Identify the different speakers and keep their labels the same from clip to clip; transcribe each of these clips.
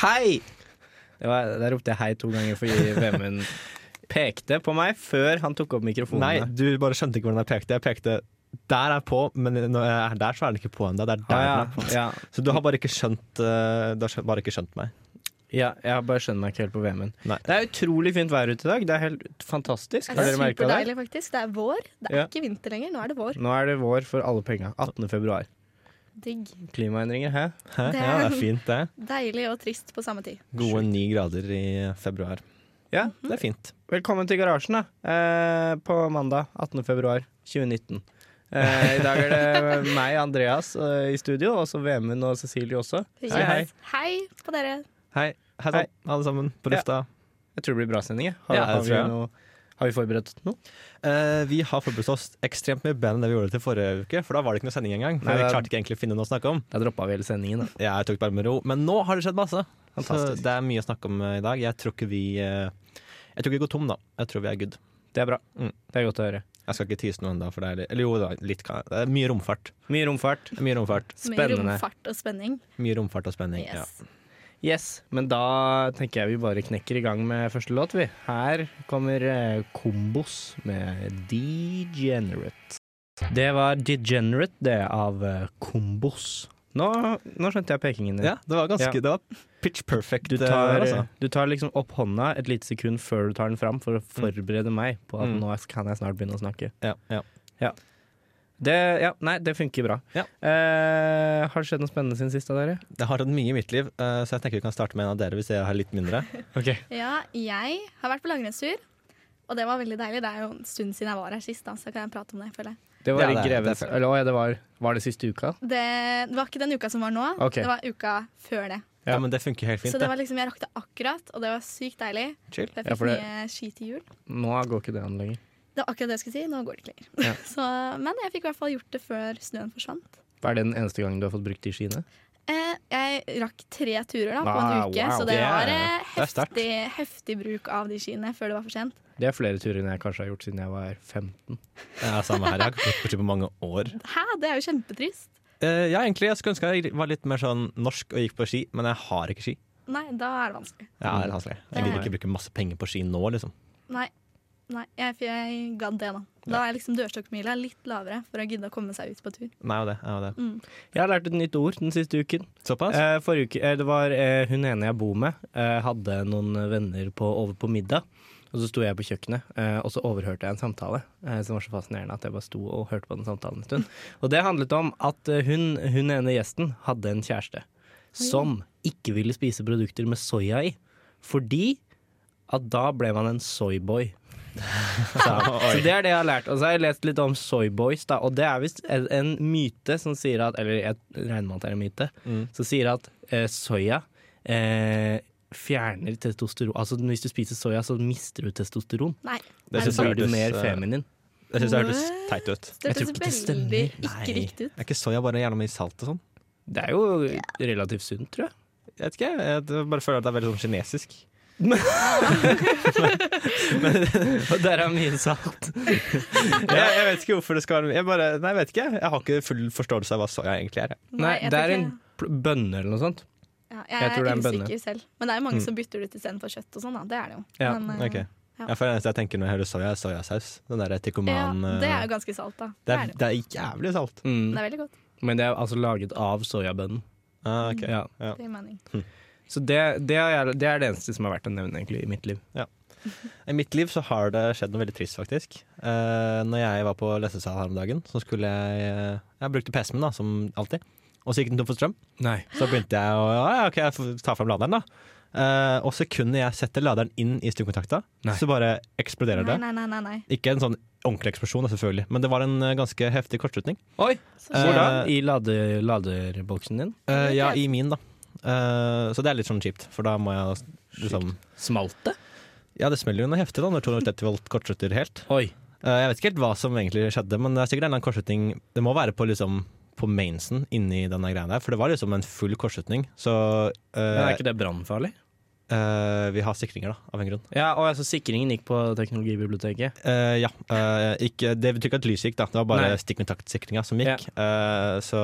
Speaker 1: hei! Det var, der ropte jeg hei to ganger fordi Vemund pekte på meg før han tok opp mikrofonen.
Speaker 2: Nei, du bare skjønte ikke hvordan jeg pekte. Jeg pekte der er på, men når jeg er der, så er den ikke på ennå. Det er der
Speaker 1: Ah, ja.
Speaker 2: den er på.
Speaker 1: Ja.
Speaker 2: Så du har bare ikke skjønt eh, Du har skjønt, bare ikke skjønt meg.
Speaker 1: ja, jeg bare skjønner meg ikke helt på Vemund.
Speaker 2: Nei.
Speaker 1: Det er utrolig fint vær ute i dag. Det er helt fantastisk.
Speaker 3: Det
Speaker 1: Har
Speaker 3: er
Speaker 1: dere merka det?
Speaker 3: superdeilig, faktisk. Det er vår. Det er
Speaker 1: Ja.
Speaker 3: ikke vinter lenger. Nå er det vår.
Speaker 1: Nå er det vår for alle penga. 18. februar.
Speaker 3: Digg.
Speaker 1: Klimaendringer, hæ?
Speaker 2: Hæ?
Speaker 3: Det er-
Speaker 2: Ja, det er fint, det.
Speaker 3: Deilig og trist på samme tid.
Speaker 2: Gode ni grader i februar.
Speaker 1: Ja.
Speaker 3: Mhm.
Speaker 2: Det er fint.
Speaker 1: Velkommen til garasjen, da. Eh, på mandag 18. februar 2019. Eh, I dag er det meg, Andreas, eh, i studio, og så Vemund og Cecilie også. Hei, hei.
Speaker 3: Yes. Hei på dere.
Speaker 2: Hei, hei
Speaker 1: Hei.
Speaker 2: sann, alle sammen på
Speaker 1: Ja.
Speaker 2: lufta.
Speaker 1: Jeg tror det blir bra sending. jeg. Har,
Speaker 2: Ja,
Speaker 1: har,
Speaker 2: det tror
Speaker 1: vi
Speaker 2: jeg.
Speaker 1: noe, har vi forberedt noe?
Speaker 2: Eh, vi har forberedt oss ekstremt mye bedre enn det vi gjorde til forrige uke, for da var det ikke noe sending engang. For
Speaker 1: Nei,
Speaker 2: vi
Speaker 1: det er-
Speaker 2: klarte ikke egentlig å finne noe å snakke om.
Speaker 1: Da droppa vi hele sendingen, da.
Speaker 2: Jeg tok det bare med ro, men nå har det skjedd masse. Så
Speaker 1: Fantastisk.
Speaker 2: det er mye å snakke om eh, i dag. Jeg tror ikke vi eh, Jeg tror ikke vi går tom, da. Jeg tror vi er good.
Speaker 1: Det er bra.
Speaker 2: Mm.
Speaker 1: Det er godt å høre.
Speaker 2: Jeg skal ikke tise noe ennå, for det er litt Eller jo, det er litt kan- Det er mye romfart.
Speaker 1: Mye romfart.
Speaker 2: Det er Mye romfart.
Speaker 3: Med
Speaker 1: Spennende.
Speaker 3: romfart og spenning.
Speaker 2: Mye romfart og spenning. Ja.
Speaker 3: Yes.
Speaker 1: Yes, men da tenker jeg vi bare knekker i gang med første låt, vi. Her kommer eh, Kombos med Degenerate. Det var Degenerate, det, av eh, Kombos. Nå, nå skjønte jeg pekingen din.
Speaker 2: ja, det var ganske
Speaker 1: Ja.
Speaker 2: Det var pitch perfect.
Speaker 1: Du
Speaker 2: eh,
Speaker 1: tar,
Speaker 2: altså.
Speaker 1: du tar liksom opp hånda et lite sekund før du tar den fram, for å forberede meg på at
Speaker 2: Mm.
Speaker 1: nå kan jeg snart begynne å snakke.
Speaker 2: ja, ja.
Speaker 1: Det, ja, nei, det funker bra.
Speaker 2: Ja.
Speaker 1: Eh, har det skjedd noe spennende siden sist av dere?
Speaker 2: Det har tatt mye i mitt liv, eh, så jeg tenker vi kan starte med en av dere hvis jeg har litt mindre.
Speaker 1: Ok.
Speaker 3: Ja, jeg har vært på langrennstur, og det var veldig deilig. Det er jo en stund siden jeg var her sist, da, så kan jeg prate om det, føler jeg.
Speaker 1: Det var
Speaker 2: Ja, det
Speaker 1: i
Speaker 2: er-
Speaker 1: Grevens
Speaker 2: det er fair.
Speaker 1: Eller å ja, det var, var det siste uka?
Speaker 3: Det, det var ikke den uka som var nå,
Speaker 1: Ok.
Speaker 3: det var uka før det.
Speaker 1: Ja.
Speaker 2: Ja, men det funker helt fint.
Speaker 3: så det
Speaker 2: det.
Speaker 3: var liksom, jeg rakk det akkurat, og det var sykt deilig.
Speaker 2: Chill.
Speaker 3: Jeg
Speaker 1: Ja,
Speaker 3: fikk
Speaker 1: for det-
Speaker 3: mye ski til jul.
Speaker 1: Nå går ikke det an lenger.
Speaker 3: Det var akkurat det jeg skulle si, nå går det ikke lenger.
Speaker 1: Ja.
Speaker 3: Så, men jeg fikk i hvert fall gjort det før snøen forsvant.
Speaker 1: Er det den eneste gangen du har fått brukt de skiene?
Speaker 3: Eh, jeg rakk tre turer da, på
Speaker 1: Ah,
Speaker 3: en uke,
Speaker 1: wow.
Speaker 3: så det
Speaker 2: Det er-
Speaker 3: var eh,
Speaker 2: det er sterkt.
Speaker 3: heftig, heftig bruk av de skiene før det var for sent.
Speaker 1: Det er flere turer enn jeg kanskje har gjort siden jeg var 15.
Speaker 2: Ja, samme her. Jeg har ikke gått borti på mange år.
Speaker 3: Hæ, det er jo kjempetrist.
Speaker 2: Eh, ja, egentlig. Jeg skulle ønske jeg var litt mer sånn norsk og gikk på ski, men jeg har ikke ski.
Speaker 3: Nei, da er det vanskelig.
Speaker 1: Mm.
Speaker 2: Ja, det er vanskelig. Jeg gidder ikke bruke masse penger på ski nå, liksom.
Speaker 3: Nei, Nei jeg, for jeg gadd det nå. Da er liksom dørstokkmila litt lavere for å gidde å komme seg ut på tur.
Speaker 2: Nei, det er jo det.
Speaker 1: Jeg har lært et nytt ord den siste uken.
Speaker 2: Såpass?
Speaker 1: Eh, forrige uke, eh, det var eh, hun ene jeg bor med, eh, hadde noen venner på, over på middag. Og så sto jeg på kjøkkenet, eh, og så overhørte jeg en samtale eh, som var så fascinerende at jeg bare sto og hørte på den samtalen en stund. Og det handlet om at eh, hun, hun ene gjesten hadde en kjæreste som ikke ville spise produkter med soya i, fordi at da ble man en soyboy. Så det er det jeg har lært. Og så har jeg lest litt om soyboys, da. Og det er visst en, en myte som sier at Eller jeg regner med at det er en myte. Som sier at eh, soya eh, fjerner testosteron. Altså hvis du spiser soya, så mister du testosteron.
Speaker 3: Nei.
Speaker 2: Det
Speaker 3: er
Speaker 2: synes
Speaker 1: Så
Speaker 3: det
Speaker 2: jeg
Speaker 1: blir du
Speaker 2: hørtes,
Speaker 1: mer
Speaker 2: eh,
Speaker 1: feminin.
Speaker 2: Jeg syns det hørtes
Speaker 3: What?
Speaker 2: teit ut.
Speaker 3: Det
Speaker 1: Jeg tror ikke det
Speaker 3: hørtes
Speaker 1: stemmer.
Speaker 2: Nei.
Speaker 3: veldig ikke riktig ut.
Speaker 2: Er ikke soya bare gjerne mye salt og sånn?
Speaker 1: Det er jo relativt sunt, tror jeg.
Speaker 2: Jeg vet ikke, jeg jeg bare føler at det er veldig sånn kinesisk.
Speaker 1: Og der er mye salt.
Speaker 2: Jeg, jeg vet ikke hvorfor det skal være jeg bare, Nei, jeg vet ikke. Jeg har ikke full forståelse av hva soya egentlig er. jeg.
Speaker 1: Nei,
Speaker 3: jeg
Speaker 1: det er
Speaker 3: tror
Speaker 1: en
Speaker 3: ikke-
Speaker 1: pl- bønne eller noe sånt. jeg
Speaker 3: ja, Jeg
Speaker 1: tror
Speaker 3: er,
Speaker 1: det er en bønne. Mm.
Speaker 3: usikker selv. Men det er jo mange som bytter det ut istedenfor kjøtt og sånn, da. Det er det jo.
Speaker 1: Ja,
Speaker 3: Men, eh,
Speaker 2: Ok
Speaker 3: Ja.
Speaker 2: Ja, for det eneste jeg tenker når jeg hører soya, er soyasaus. Den der
Speaker 3: ja,
Speaker 2: tekoman
Speaker 3: det er
Speaker 2: eh,
Speaker 3: jo ganske salt, da.
Speaker 2: det
Speaker 3: Det
Speaker 2: er,
Speaker 3: er det.
Speaker 2: det er jævlig salt.
Speaker 3: Det
Speaker 1: Mm.
Speaker 3: er veldig godt.
Speaker 1: Men det er altså laget av soyabønnen.
Speaker 2: Ah, ok.
Speaker 1: Ja.
Speaker 2: Ja.
Speaker 3: Det gir mening.
Speaker 1: Så det, det, er, det er det eneste som er verdt å nevne egentlig i mitt liv.
Speaker 2: I mitt liv så har det skjedd noe veldig trist, faktisk. Eh, når jeg var på lesesal her om dagen, så skulle jeg eh, Jeg brukte PC-en min, da, som alltid. Og så gikk den tom for strøm.
Speaker 1: Nei.
Speaker 2: Så begynte jeg å ja, ja, OK, jeg får ta fram laderen, da. Eh, og sekundet jeg setter laderen inn i stikkontakta,
Speaker 1: Nei.
Speaker 2: så bare eksploderer
Speaker 3: Nei,
Speaker 2: det.
Speaker 3: nei, nei. nei, nei.
Speaker 2: Ikke en sånn ordentlig eksplosjon, da, selvfølgelig, men det var en eh, ganske heftig kortslutning.
Speaker 1: Oi!
Speaker 3: Så
Speaker 2: Eh,
Speaker 3: skjer det.
Speaker 1: Hvordan? I lade, laderboksen din?
Speaker 2: Eh, ja, i min, da. Eh, så det er litt sånn kjipt, for da må jeg liksom
Speaker 1: Smalt det?
Speaker 2: Ja, det smeller jo noe heftig da når 230 volt kortslutter helt.
Speaker 1: Oi.
Speaker 2: Eh, Jeg vet ikke helt hva som egentlig skjedde, men det er sikkert en eller annen kortslutning Det må være på, liksom, på mainsen inni denne greia der, for det var liksom en full kortslutning. Så eh,
Speaker 1: Men er ikke det brannfarlig?
Speaker 2: eh, vi har sikringer, da, av en grunn.
Speaker 1: Ja, og altså, sikringen gikk på teknologibiblioteket.
Speaker 2: Eh, ja. eh, ikke, det betyr ikke at lyset gikk, da. Det var bare
Speaker 1: Nei.
Speaker 2: stikkontaktsikringa som gikk. Eh, så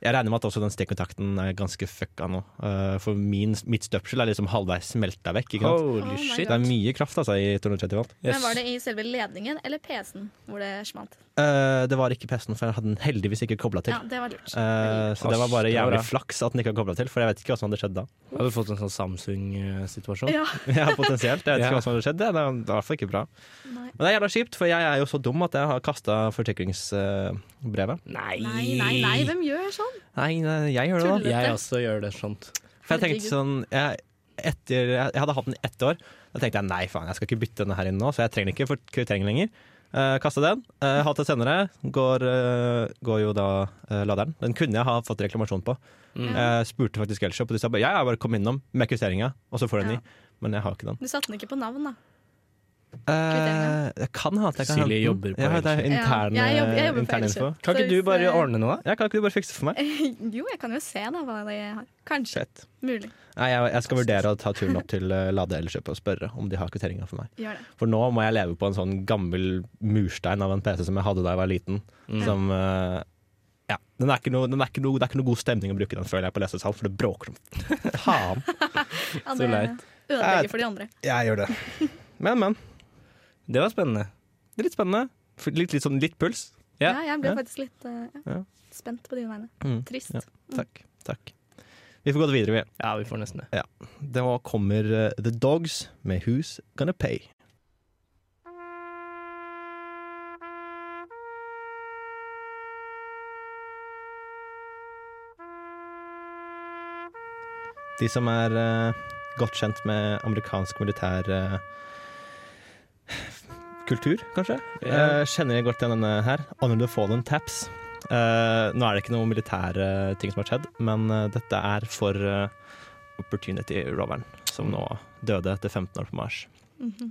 Speaker 2: Jeg regner med at også den stikkontakten er ganske fucka nå. Eh, for min, mitt støpsel er liksom halvveis smelta vekk. Ikke sant?
Speaker 3: Oh
Speaker 1: Holy
Speaker 3: my
Speaker 1: shit.
Speaker 2: Det er mye kraft altså, i 230 volt.
Speaker 1: Yes.
Speaker 3: Men var det i selve ledningen eller PC-en hvor det smalt?
Speaker 2: Eh, det var ikke PC-en, for jeg hadde den heldigvis ikke kobla til.
Speaker 3: Ja, det var lurt.
Speaker 2: Eh, så det
Speaker 1: Ass, det
Speaker 2: var bare
Speaker 1: var
Speaker 2: jævlig
Speaker 1: bra.
Speaker 2: flaks at den ikke var kobla til, for jeg vet ikke hva som hadde skjedd da.
Speaker 1: Hadde du fått en sånn Samsung-situasjon?
Speaker 3: Ja,
Speaker 2: Ja, potensielt. Jeg vet ikke
Speaker 1: Ja.
Speaker 2: hva som hadde skjedd. Det er i hvert fall ikke bra.
Speaker 3: nei.
Speaker 2: Men det er jævla kjipt, for jeg er jo så dum at jeg har kasta forsikringsbrevet.
Speaker 1: Nei.
Speaker 3: nei, nei, nei, hvem gjør sånn?
Speaker 2: Nei, nei, jeg gjør det, da.
Speaker 3: Tuller.
Speaker 1: Jeg også gjør det sånt.
Speaker 2: For jeg tenkte sånn jeg, etter, jeg, jeg hadde hatt den i ett år. Da tenkte jeg nei, faen, jeg skal ikke bytte denne her inne nå, så jeg trenger den ikke for kvittering lenger. Uh, Kasta den. Uh, Hatt det senere. Går, eh, går jo da eh, laderen. Den kunne jeg ha fått reklamasjon på.
Speaker 1: Mm.
Speaker 2: Jeg spurte faktisk Elkjøp, og de sa bare ja, ja, bare kom innom med kvitteringa, og så får du en
Speaker 3: Ja.
Speaker 2: ny. Men jeg har ikke den.
Speaker 3: Du satte den ikke på navn, da.
Speaker 2: Eh, jeg kan ha at jeg kan
Speaker 1: Silje
Speaker 2: hente den.
Speaker 1: jobber på
Speaker 2: ja, det er
Speaker 1: Elkjøp.
Speaker 2: interne,
Speaker 3: Ja, jeg jobber- jeg jobber på
Speaker 2: interne info.
Speaker 3: Elkjøp.
Speaker 1: Kan
Speaker 3: Så
Speaker 1: ikke du
Speaker 3: hvis,
Speaker 1: bare
Speaker 3: eh,
Speaker 1: ordne noe?
Speaker 2: Ja, kan ikke du bare fikse det for meg?
Speaker 3: Jo, jeg kan jo se da hva de har. Kanskje.
Speaker 2: Shit.
Speaker 3: Mulig.
Speaker 2: Nei, jeg, jeg skal vurdere å ta turen opp til eh, Lade Elkjøp og spørre om de har kvitteringa for meg.
Speaker 3: Gjør det.
Speaker 2: For nå må jeg leve på en sånn gammel murstein av en PC som jeg hadde da jeg var liten.
Speaker 1: Mm.
Speaker 2: Som eh, Ja. Den er ikke noe, den er ikke noe, det er ikke noe god stemning å bruke den, føler jeg, på lesesal, for det bråker som faen.
Speaker 3: Ja,
Speaker 1: Så
Speaker 3: det
Speaker 1: leit.
Speaker 3: Ødelegger for de andre.
Speaker 2: Jeg gjør det. Men, men.
Speaker 1: Det var spennende.
Speaker 2: Det er litt spennende. For Litt, litt, sånn, litt puls.
Speaker 1: Ja.
Speaker 3: Ja, jeg ble
Speaker 2: Ja.
Speaker 3: faktisk litt eh, ja.
Speaker 2: Ja.
Speaker 3: spent på dine vegne.
Speaker 2: Mm.
Speaker 3: Trist.
Speaker 2: Ja. Takk. Takk. Vi får gå videre, vi.
Speaker 1: Ja, vi får nesten det.
Speaker 2: Da kommer eh, The Dogs med Who's Gonna Pay. De som er eh, godt kjent med amerikansk militær eh, kultur, kanskje,
Speaker 1: Ja.
Speaker 2: eh, kjenner godt til denne her. Honor the Fallen Taps. Eh, nå er det ikke noen militære ting som har skjedd, men eh, dette er for eh, Opportunity-roveren, som nå døde etter 15 år på Mars.
Speaker 3: Mhm.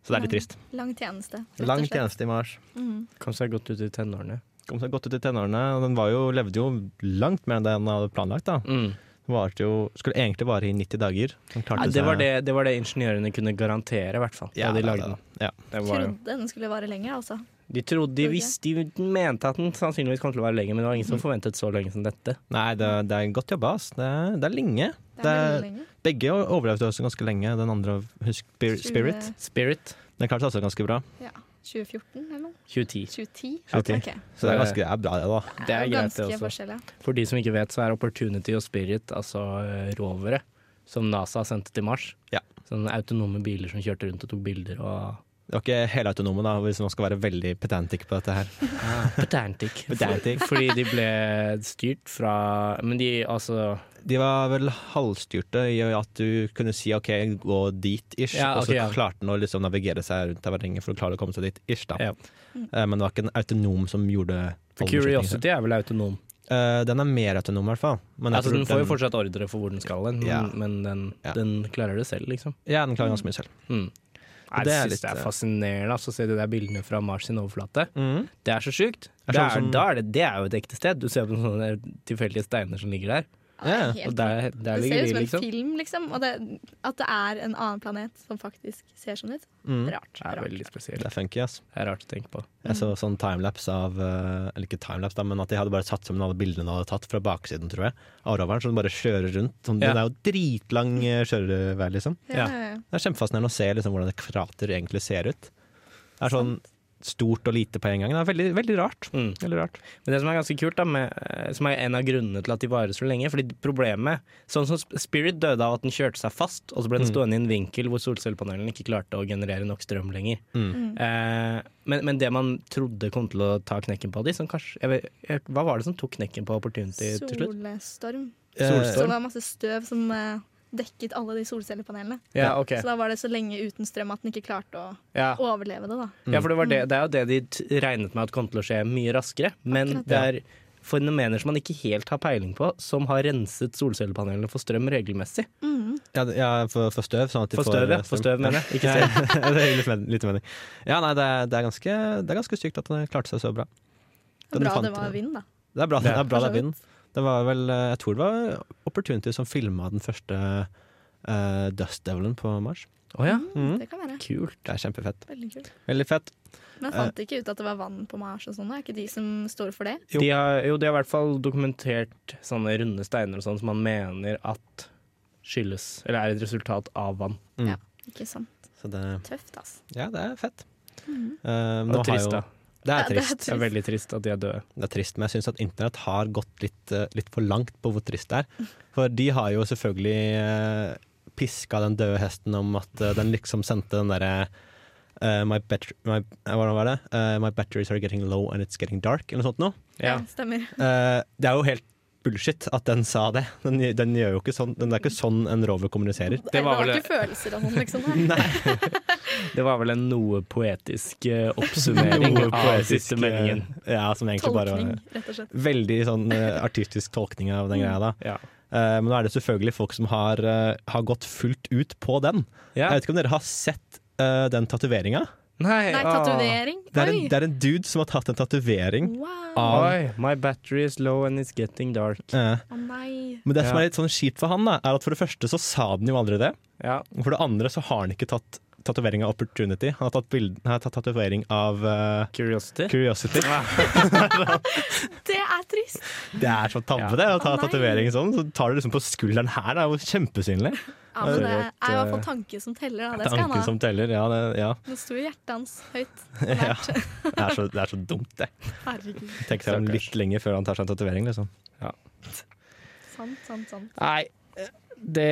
Speaker 2: Så det er litt trist.
Speaker 3: Lang tjeneste. rett og
Speaker 2: Lang
Speaker 3: slett.
Speaker 2: tjeneste i Mars.
Speaker 3: Mhm.
Speaker 1: Kom seg godt ut i tenårene.
Speaker 2: Kom seg godt ut i tenårene. og Den var jo, levde jo langt mer enn det den hadde planlagt. da.
Speaker 1: Mm.
Speaker 2: Den varte jo, skulle egentlig vare i 90 dager. Den klarte
Speaker 1: Nei, det, var
Speaker 2: seg-
Speaker 1: det, det var det ingeniørene kunne garantere, i hvert fall. da
Speaker 2: Ja,
Speaker 1: de
Speaker 2: det-
Speaker 1: lagde den.
Speaker 2: Ja.
Speaker 1: Den var jo-
Speaker 3: Trodde den skulle vare lenger, altså.
Speaker 1: De trodde, de
Speaker 3: Trodde.
Speaker 1: visste, de mente at den sannsynligvis kom til å være lenger, men det var ingen som forventet så lenge som dette.
Speaker 2: Nei, det, det er godt jobba. ass. Det, er- det er lenge.
Speaker 3: Det er
Speaker 2: Det er-
Speaker 3: veldig lenge.
Speaker 2: Begge overlevde også ganske lenge. Den andre, husk, Spir- Spirit,
Speaker 3: 20
Speaker 1: Spirit
Speaker 2: den klarte seg også ganske bra.
Speaker 3: Ja. 2014 eller noe?
Speaker 1: 2010.
Speaker 3: 2010?
Speaker 2: 2010.
Speaker 3: Ok.
Speaker 2: Så det er ganske det er bra, det, da.
Speaker 1: Det er
Speaker 3: jo
Speaker 1: greit, det
Speaker 3: ganske
Speaker 1: også.
Speaker 3: forskjell, ja.
Speaker 1: For de som ikke vet, så er Opportunity og Spirit altså eh, rovere som NASA sendte til Mars.
Speaker 2: Ja.
Speaker 1: Sånne autonome biler som kjørte rundt og tok bilder og
Speaker 2: Det var ikke helautonome, da, hvis man skal være veldig pedantic på dette her.
Speaker 1: Pedantic.
Speaker 2: Ah. Pedantic.
Speaker 1: Fordi de ble styrt fra Men de altså
Speaker 2: De var vel halvstyrte i at du kunne si OK, gå dit, ish.
Speaker 1: Ja,
Speaker 2: og så
Speaker 1: ok, ja.
Speaker 2: klarte den å liksom navigere seg rundt terrenget for å klare å komme seg dit, ish. da.
Speaker 1: Ja.
Speaker 2: Eh, Men det var ikke en autonom som gjorde
Speaker 1: For
Speaker 2: alle beslutningene.
Speaker 1: Curiosity er vel autonom.
Speaker 2: Eh, Den er mer autonom, i hvert fall. Men jeg
Speaker 1: Altså,
Speaker 2: tror
Speaker 1: den får jo fortsatt ordre for hvor den skal hen, men,
Speaker 2: Ja.
Speaker 1: men den,
Speaker 2: Ja.
Speaker 1: den klarer det selv, liksom.
Speaker 2: Ja, den klarer ganske mye selv.
Speaker 1: Mm. Nei,
Speaker 2: det
Speaker 1: det
Speaker 2: er
Speaker 1: synes
Speaker 2: litt,
Speaker 1: det
Speaker 2: eh,
Speaker 1: er fascinerende altså, å se de der bildene fra Mars sin overflate.
Speaker 2: Mm.
Speaker 1: Det er så sjukt.
Speaker 2: Det er
Speaker 1: Det
Speaker 2: sånn
Speaker 1: er,
Speaker 2: som-
Speaker 1: da er det, det er jo et ekte sted. Du ser på sånne tilfeldige steiner som ligger der.
Speaker 2: Ja,
Speaker 3: Helt
Speaker 1: Og der, der
Speaker 3: det
Speaker 1: ligger
Speaker 3: ser ut
Speaker 1: de,
Speaker 3: som en
Speaker 1: liksom.
Speaker 3: film, liksom. Og det, at det er en annen planet som faktisk ser sånn ut.
Speaker 2: Mm.
Speaker 3: Rart.
Speaker 1: Det er
Speaker 3: rart.
Speaker 1: veldig spesielt.
Speaker 2: Det er funky, ass.
Speaker 1: Det er rart å tenke på.
Speaker 2: Jeg så sånn timelapse av eh, Eller ikke timelapse, da, men at de hadde bare satt sammen alle bildene de hadde tatt fra baksiden, tror jeg. Av roveren, som bare kjører rundt. Sånn,
Speaker 1: Ja.
Speaker 2: Den er jo dritlang eh, kjørevei, liksom.
Speaker 1: Ja.
Speaker 3: ja, ja.
Speaker 2: Det er kjempefascinerende å se liksom, hvordan et krater egentlig ser ut. Det er sånn stort og lite på en gang. Det er veldig, veldig rart.
Speaker 1: Mm.
Speaker 2: Veldig rart.
Speaker 1: Men det som er ganske kult, da, med, eh, som er en av grunnene til at de varer så lenge Fordi problemet Sånn som Sp- Spirit døde av at den kjørte seg fast, og så ble den
Speaker 2: Mm.
Speaker 1: stående i en vinkel hvor solcellepanelene ikke klarte å generere nok strøm lenger.
Speaker 2: Mm.
Speaker 1: Eh, men, men det man trodde kom til å ta knekken på de som kanskje, jeg vet, jeg, Hva var det som tok knekken på Opportunity til slutt?
Speaker 3: Solstorm.
Speaker 2: Eh,
Speaker 1: Solstorm.
Speaker 3: Så det var masse støv som eh, dekket alle de solcellepanelene.
Speaker 1: Ja, ok.
Speaker 3: Så da var det så lenge uten strøm at den ikke klarte å
Speaker 1: Ja.
Speaker 3: overleve det, da.
Speaker 1: Ja, for det, var det, det er jo det de t- regnet med at kom til å skje mye raskere. Men
Speaker 3: Akkurat.
Speaker 1: det er fenomener som man ikke helt har peiling på, som har renset solcellepanelene for strøm regelmessig.
Speaker 3: Mm.
Speaker 2: Ja, det- ja for, for støv. Sånn at de
Speaker 1: For støv, ja.
Speaker 2: eh,
Speaker 1: For støv, mener jeg. Ikke
Speaker 2: Ja,
Speaker 1: strøm.
Speaker 2: det gir litt, men, litt mening. Ja, nei, det er, det, er ganske, det er ganske sykt at den klarte seg så bra. Den
Speaker 3: Bra
Speaker 2: fant
Speaker 3: det var
Speaker 2: den.
Speaker 3: vind, da.
Speaker 2: Det er bra det
Speaker 1: Ja.
Speaker 2: er, bra, det
Speaker 3: For så
Speaker 2: er vind. Det var vel, eh, jeg tror det var Opportunity som filma den første eh, Dust Develen på Mars.
Speaker 1: Å ja,
Speaker 2: Mm.
Speaker 3: Det kan være.
Speaker 1: kult.
Speaker 2: Det er kjempefett.
Speaker 3: Veldig kult.
Speaker 2: Veldig fett.
Speaker 3: Men fant de ikke ut at det var vann på Mars og sånn? da? Er ikke de som står for det?
Speaker 2: Jo.
Speaker 1: De har, jo, de har i hvert fall dokumentert sånne runde steiner og sånn som man mener at skyldes, eller er et resultat av vann.
Speaker 3: Ikke sant.
Speaker 2: Mm. Så det,
Speaker 3: Tøft, altså.
Speaker 2: ja, det er fett.
Speaker 3: Mhm.
Speaker 2: Eh,
Speaker 1: Og
Speaker 2: nå har
Speaker 1: trist,
Speaker 2: jo-
Speaker 1: da.
Speaker 2: Det
Speaker 3: Ja,
Speaker 2: er
Speaker 3: det er
Speaker 2: trist.
Speaker 1: Det er veldig trist at de er døde.
Speaker 2: Det er trist, men jeg syns at internett har gått litt, eh, litt for langt på hvor trist det er. For de har jo selvfølgelig eh, piska den døde hesten om at eh, den liksom sendte den derre eh, my, bat- my, eh, hvordan var det? Eh, my batteries are getting low and it's getting dark, eller noe sånt noe.
Speaker 3: Ja, stemmer.
Speaker 2: Eh, det er jo helt bullshit at den sa det. Den, den gjør jo ikke sånn, den, det er ikke sånn en rover kommuniserer.
Speaker 1: Det var vel-
Speaker 3: ikke følelser og sånn, liksom. nei.
Speaker 1: Det var vel en noe poetisk eh, oppsummering av
Speaker 2: Noe poetisk,
Speaker 1: siste meldingen.
Speaker 2: eh, Ja, som egentlig bare
Speaker 3: Tolkning,
Speaker 2: var
Speaker 3: rett og slett.
Speaker 2: Veldig sånn eh, artistisk tolkning av den greia da.
Speaker 1: Ja.
Speaker 2: Eh, men nå er det selvfølgelig folk som har, eh, har gått fullt ut på den.
Speaker 1: Ja.
Speaker 2: Jeg vet ikke om dere har sett eh, den tatoveringa?
Speaker 1: Nei,
Speaker 3: Nei,
Speaker 1: ah.
Speaker 3: tatovering.
Speaker 2: Det, er
Speaker 3: Oi!
Speaker 2: en- det er en dude som har tatt en tatovering.
Speaker 3: Wow. Å
Speaker 2: av-
Speaker 1: Oi, my battery is low and it's getting dark.
Speaker 2: Eh,
Speaker 3: nei.
Speaker 2: men det som
Speaker 1: Ja.
Speaker 2: er litt sånn kjipt for han, da, er at for det første så sa den jo aldri det.
Speaker 1: Ja.
Speaker 2: Og For det andre så har han ikke tatt tatovering av Opportunity. Han har tatt, bild- han har tatt tatovering av eh,
Speaker 1: Curiosity.
Speaker 2: Curiosity.
Speaker 3: Det er trist.
Speaker 2: Det er så tabbe,
Speaker 1: Ja.
Speaker 2: det, å ta
Speaker 3: Å, nei.
Speaker 2: tatovering sånn. Så tar du liksom på skulderen her, det er jo kjempesynlig.
Speaker 3: Ja, men det
Speaker 1: Ørret,
Speaker 3: er i hvert
Speaker 1: eh,
Speaker 3: fall tanken som teller, da. Det skal han
Speaker 2: Tanken
Speaker 3: ha.
Speaker 2: som teller, ja. Det, ja.
Speaker 3: Det sto i hjertet hans høyt.
Speaker 2: ja. Det, er så, det er så dumt, det.
Speaker 3: Herregud.
Speaker 2: Tenk deg om
Speaker 1: Stakkars.
Speaker 2: litt lenger før han tar seg en tatovering, liksom.
Speaker 3: Sant, sant, sant.
Speaker 1: Nei, det,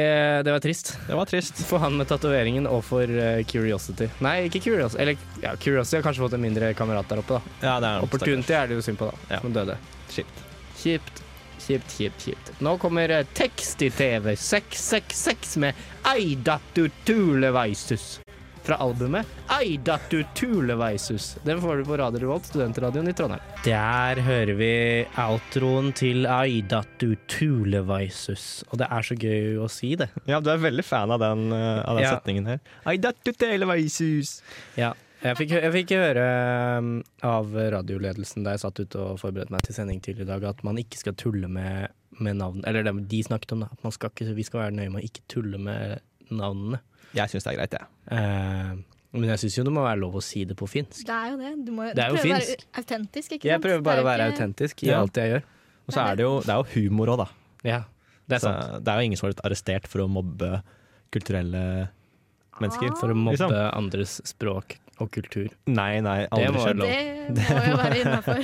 Speaker 1: det var trist.
Speaker 2: Det var trist.
Speaker 1: For han med tatoveringen og for eh, Curiosity. Nei, ikke Curiosity. Eller ja, Curiosity har kanskje fått en mindre kamerat der oppe, da.
Speaker 2: Ja, det er
Speaker 1: Opportunity er det jo synd på, da.
Speaker 2: Ja.
Speaker 1: Som døde.
Speaker 2: Kjipt.
Speaker 1: Kjipt. Kjipt, kjipt, kjipt. Nå kommer eh, tekst i TV 666 med Eidatu Tuleveisus. Fra albumet Eidatu Tuleveisus. Den får du på Radio Revolt, studentradioen i Trondheim. Der hører vi outroen til Eidatu Tuleveisus. Og det er så gøy å si det.
Speaker 2: Ja, du er veldig fan av den, eh, av den
Speaker 1: Ja.
Speaker 2: setningen her. I dat to tell of ices.
Speaker 1: Ja. Jeg fikk, jeg fikk høre um, av radioledelsen da jeg satt ute og forberedte meg til sending tidligere i dag, at man ikke skal tulle med, med navn Eller det de snakket om, da. At man skal ikke, vi skal være nøye med å ikke tulle med navnene.
Speaker 2: Jeg syns det er greit, jeg.
Speaker 1: Eh, men jeg syns jo det må være lov å si det på finsk.
Speaker 3: Det er jo det. Du må
Speaker 1: Det er jo
Speaker 3: prøve å være
Speaker 1: finsk.
Speaker 3: autentisk, ikke sant?
Speaker 1: Jeg prøver bare å
Speaker 3: Det er
Speaker 1: være
Speaker 3: jo ikke-
Speaker 1: autentisk i
Speaker 2: Ja.
Speaker 1: alt jeg gjør.
Speaker 2: Og så er det jo, det er jo humor òg, da.
Speaker 1: Ja, det er
Speaker 2: Så
Speaker 1: sant.
Speaker 2: det er jo ingen som har blitt arrestert for å mobbe kulturelle mennesker.
Speaker 3: Ah,
Speaker 1: For å mobbe
Speaker 2: Liksom.
Speaker 1: andres språk og kultur.
Speaker 2: Nei, nei, aldri
Speaker 1: Det må være
Speaker 2: skjedd.
Speaker 1: lov.
Speaker 3: Det må jo være innafor.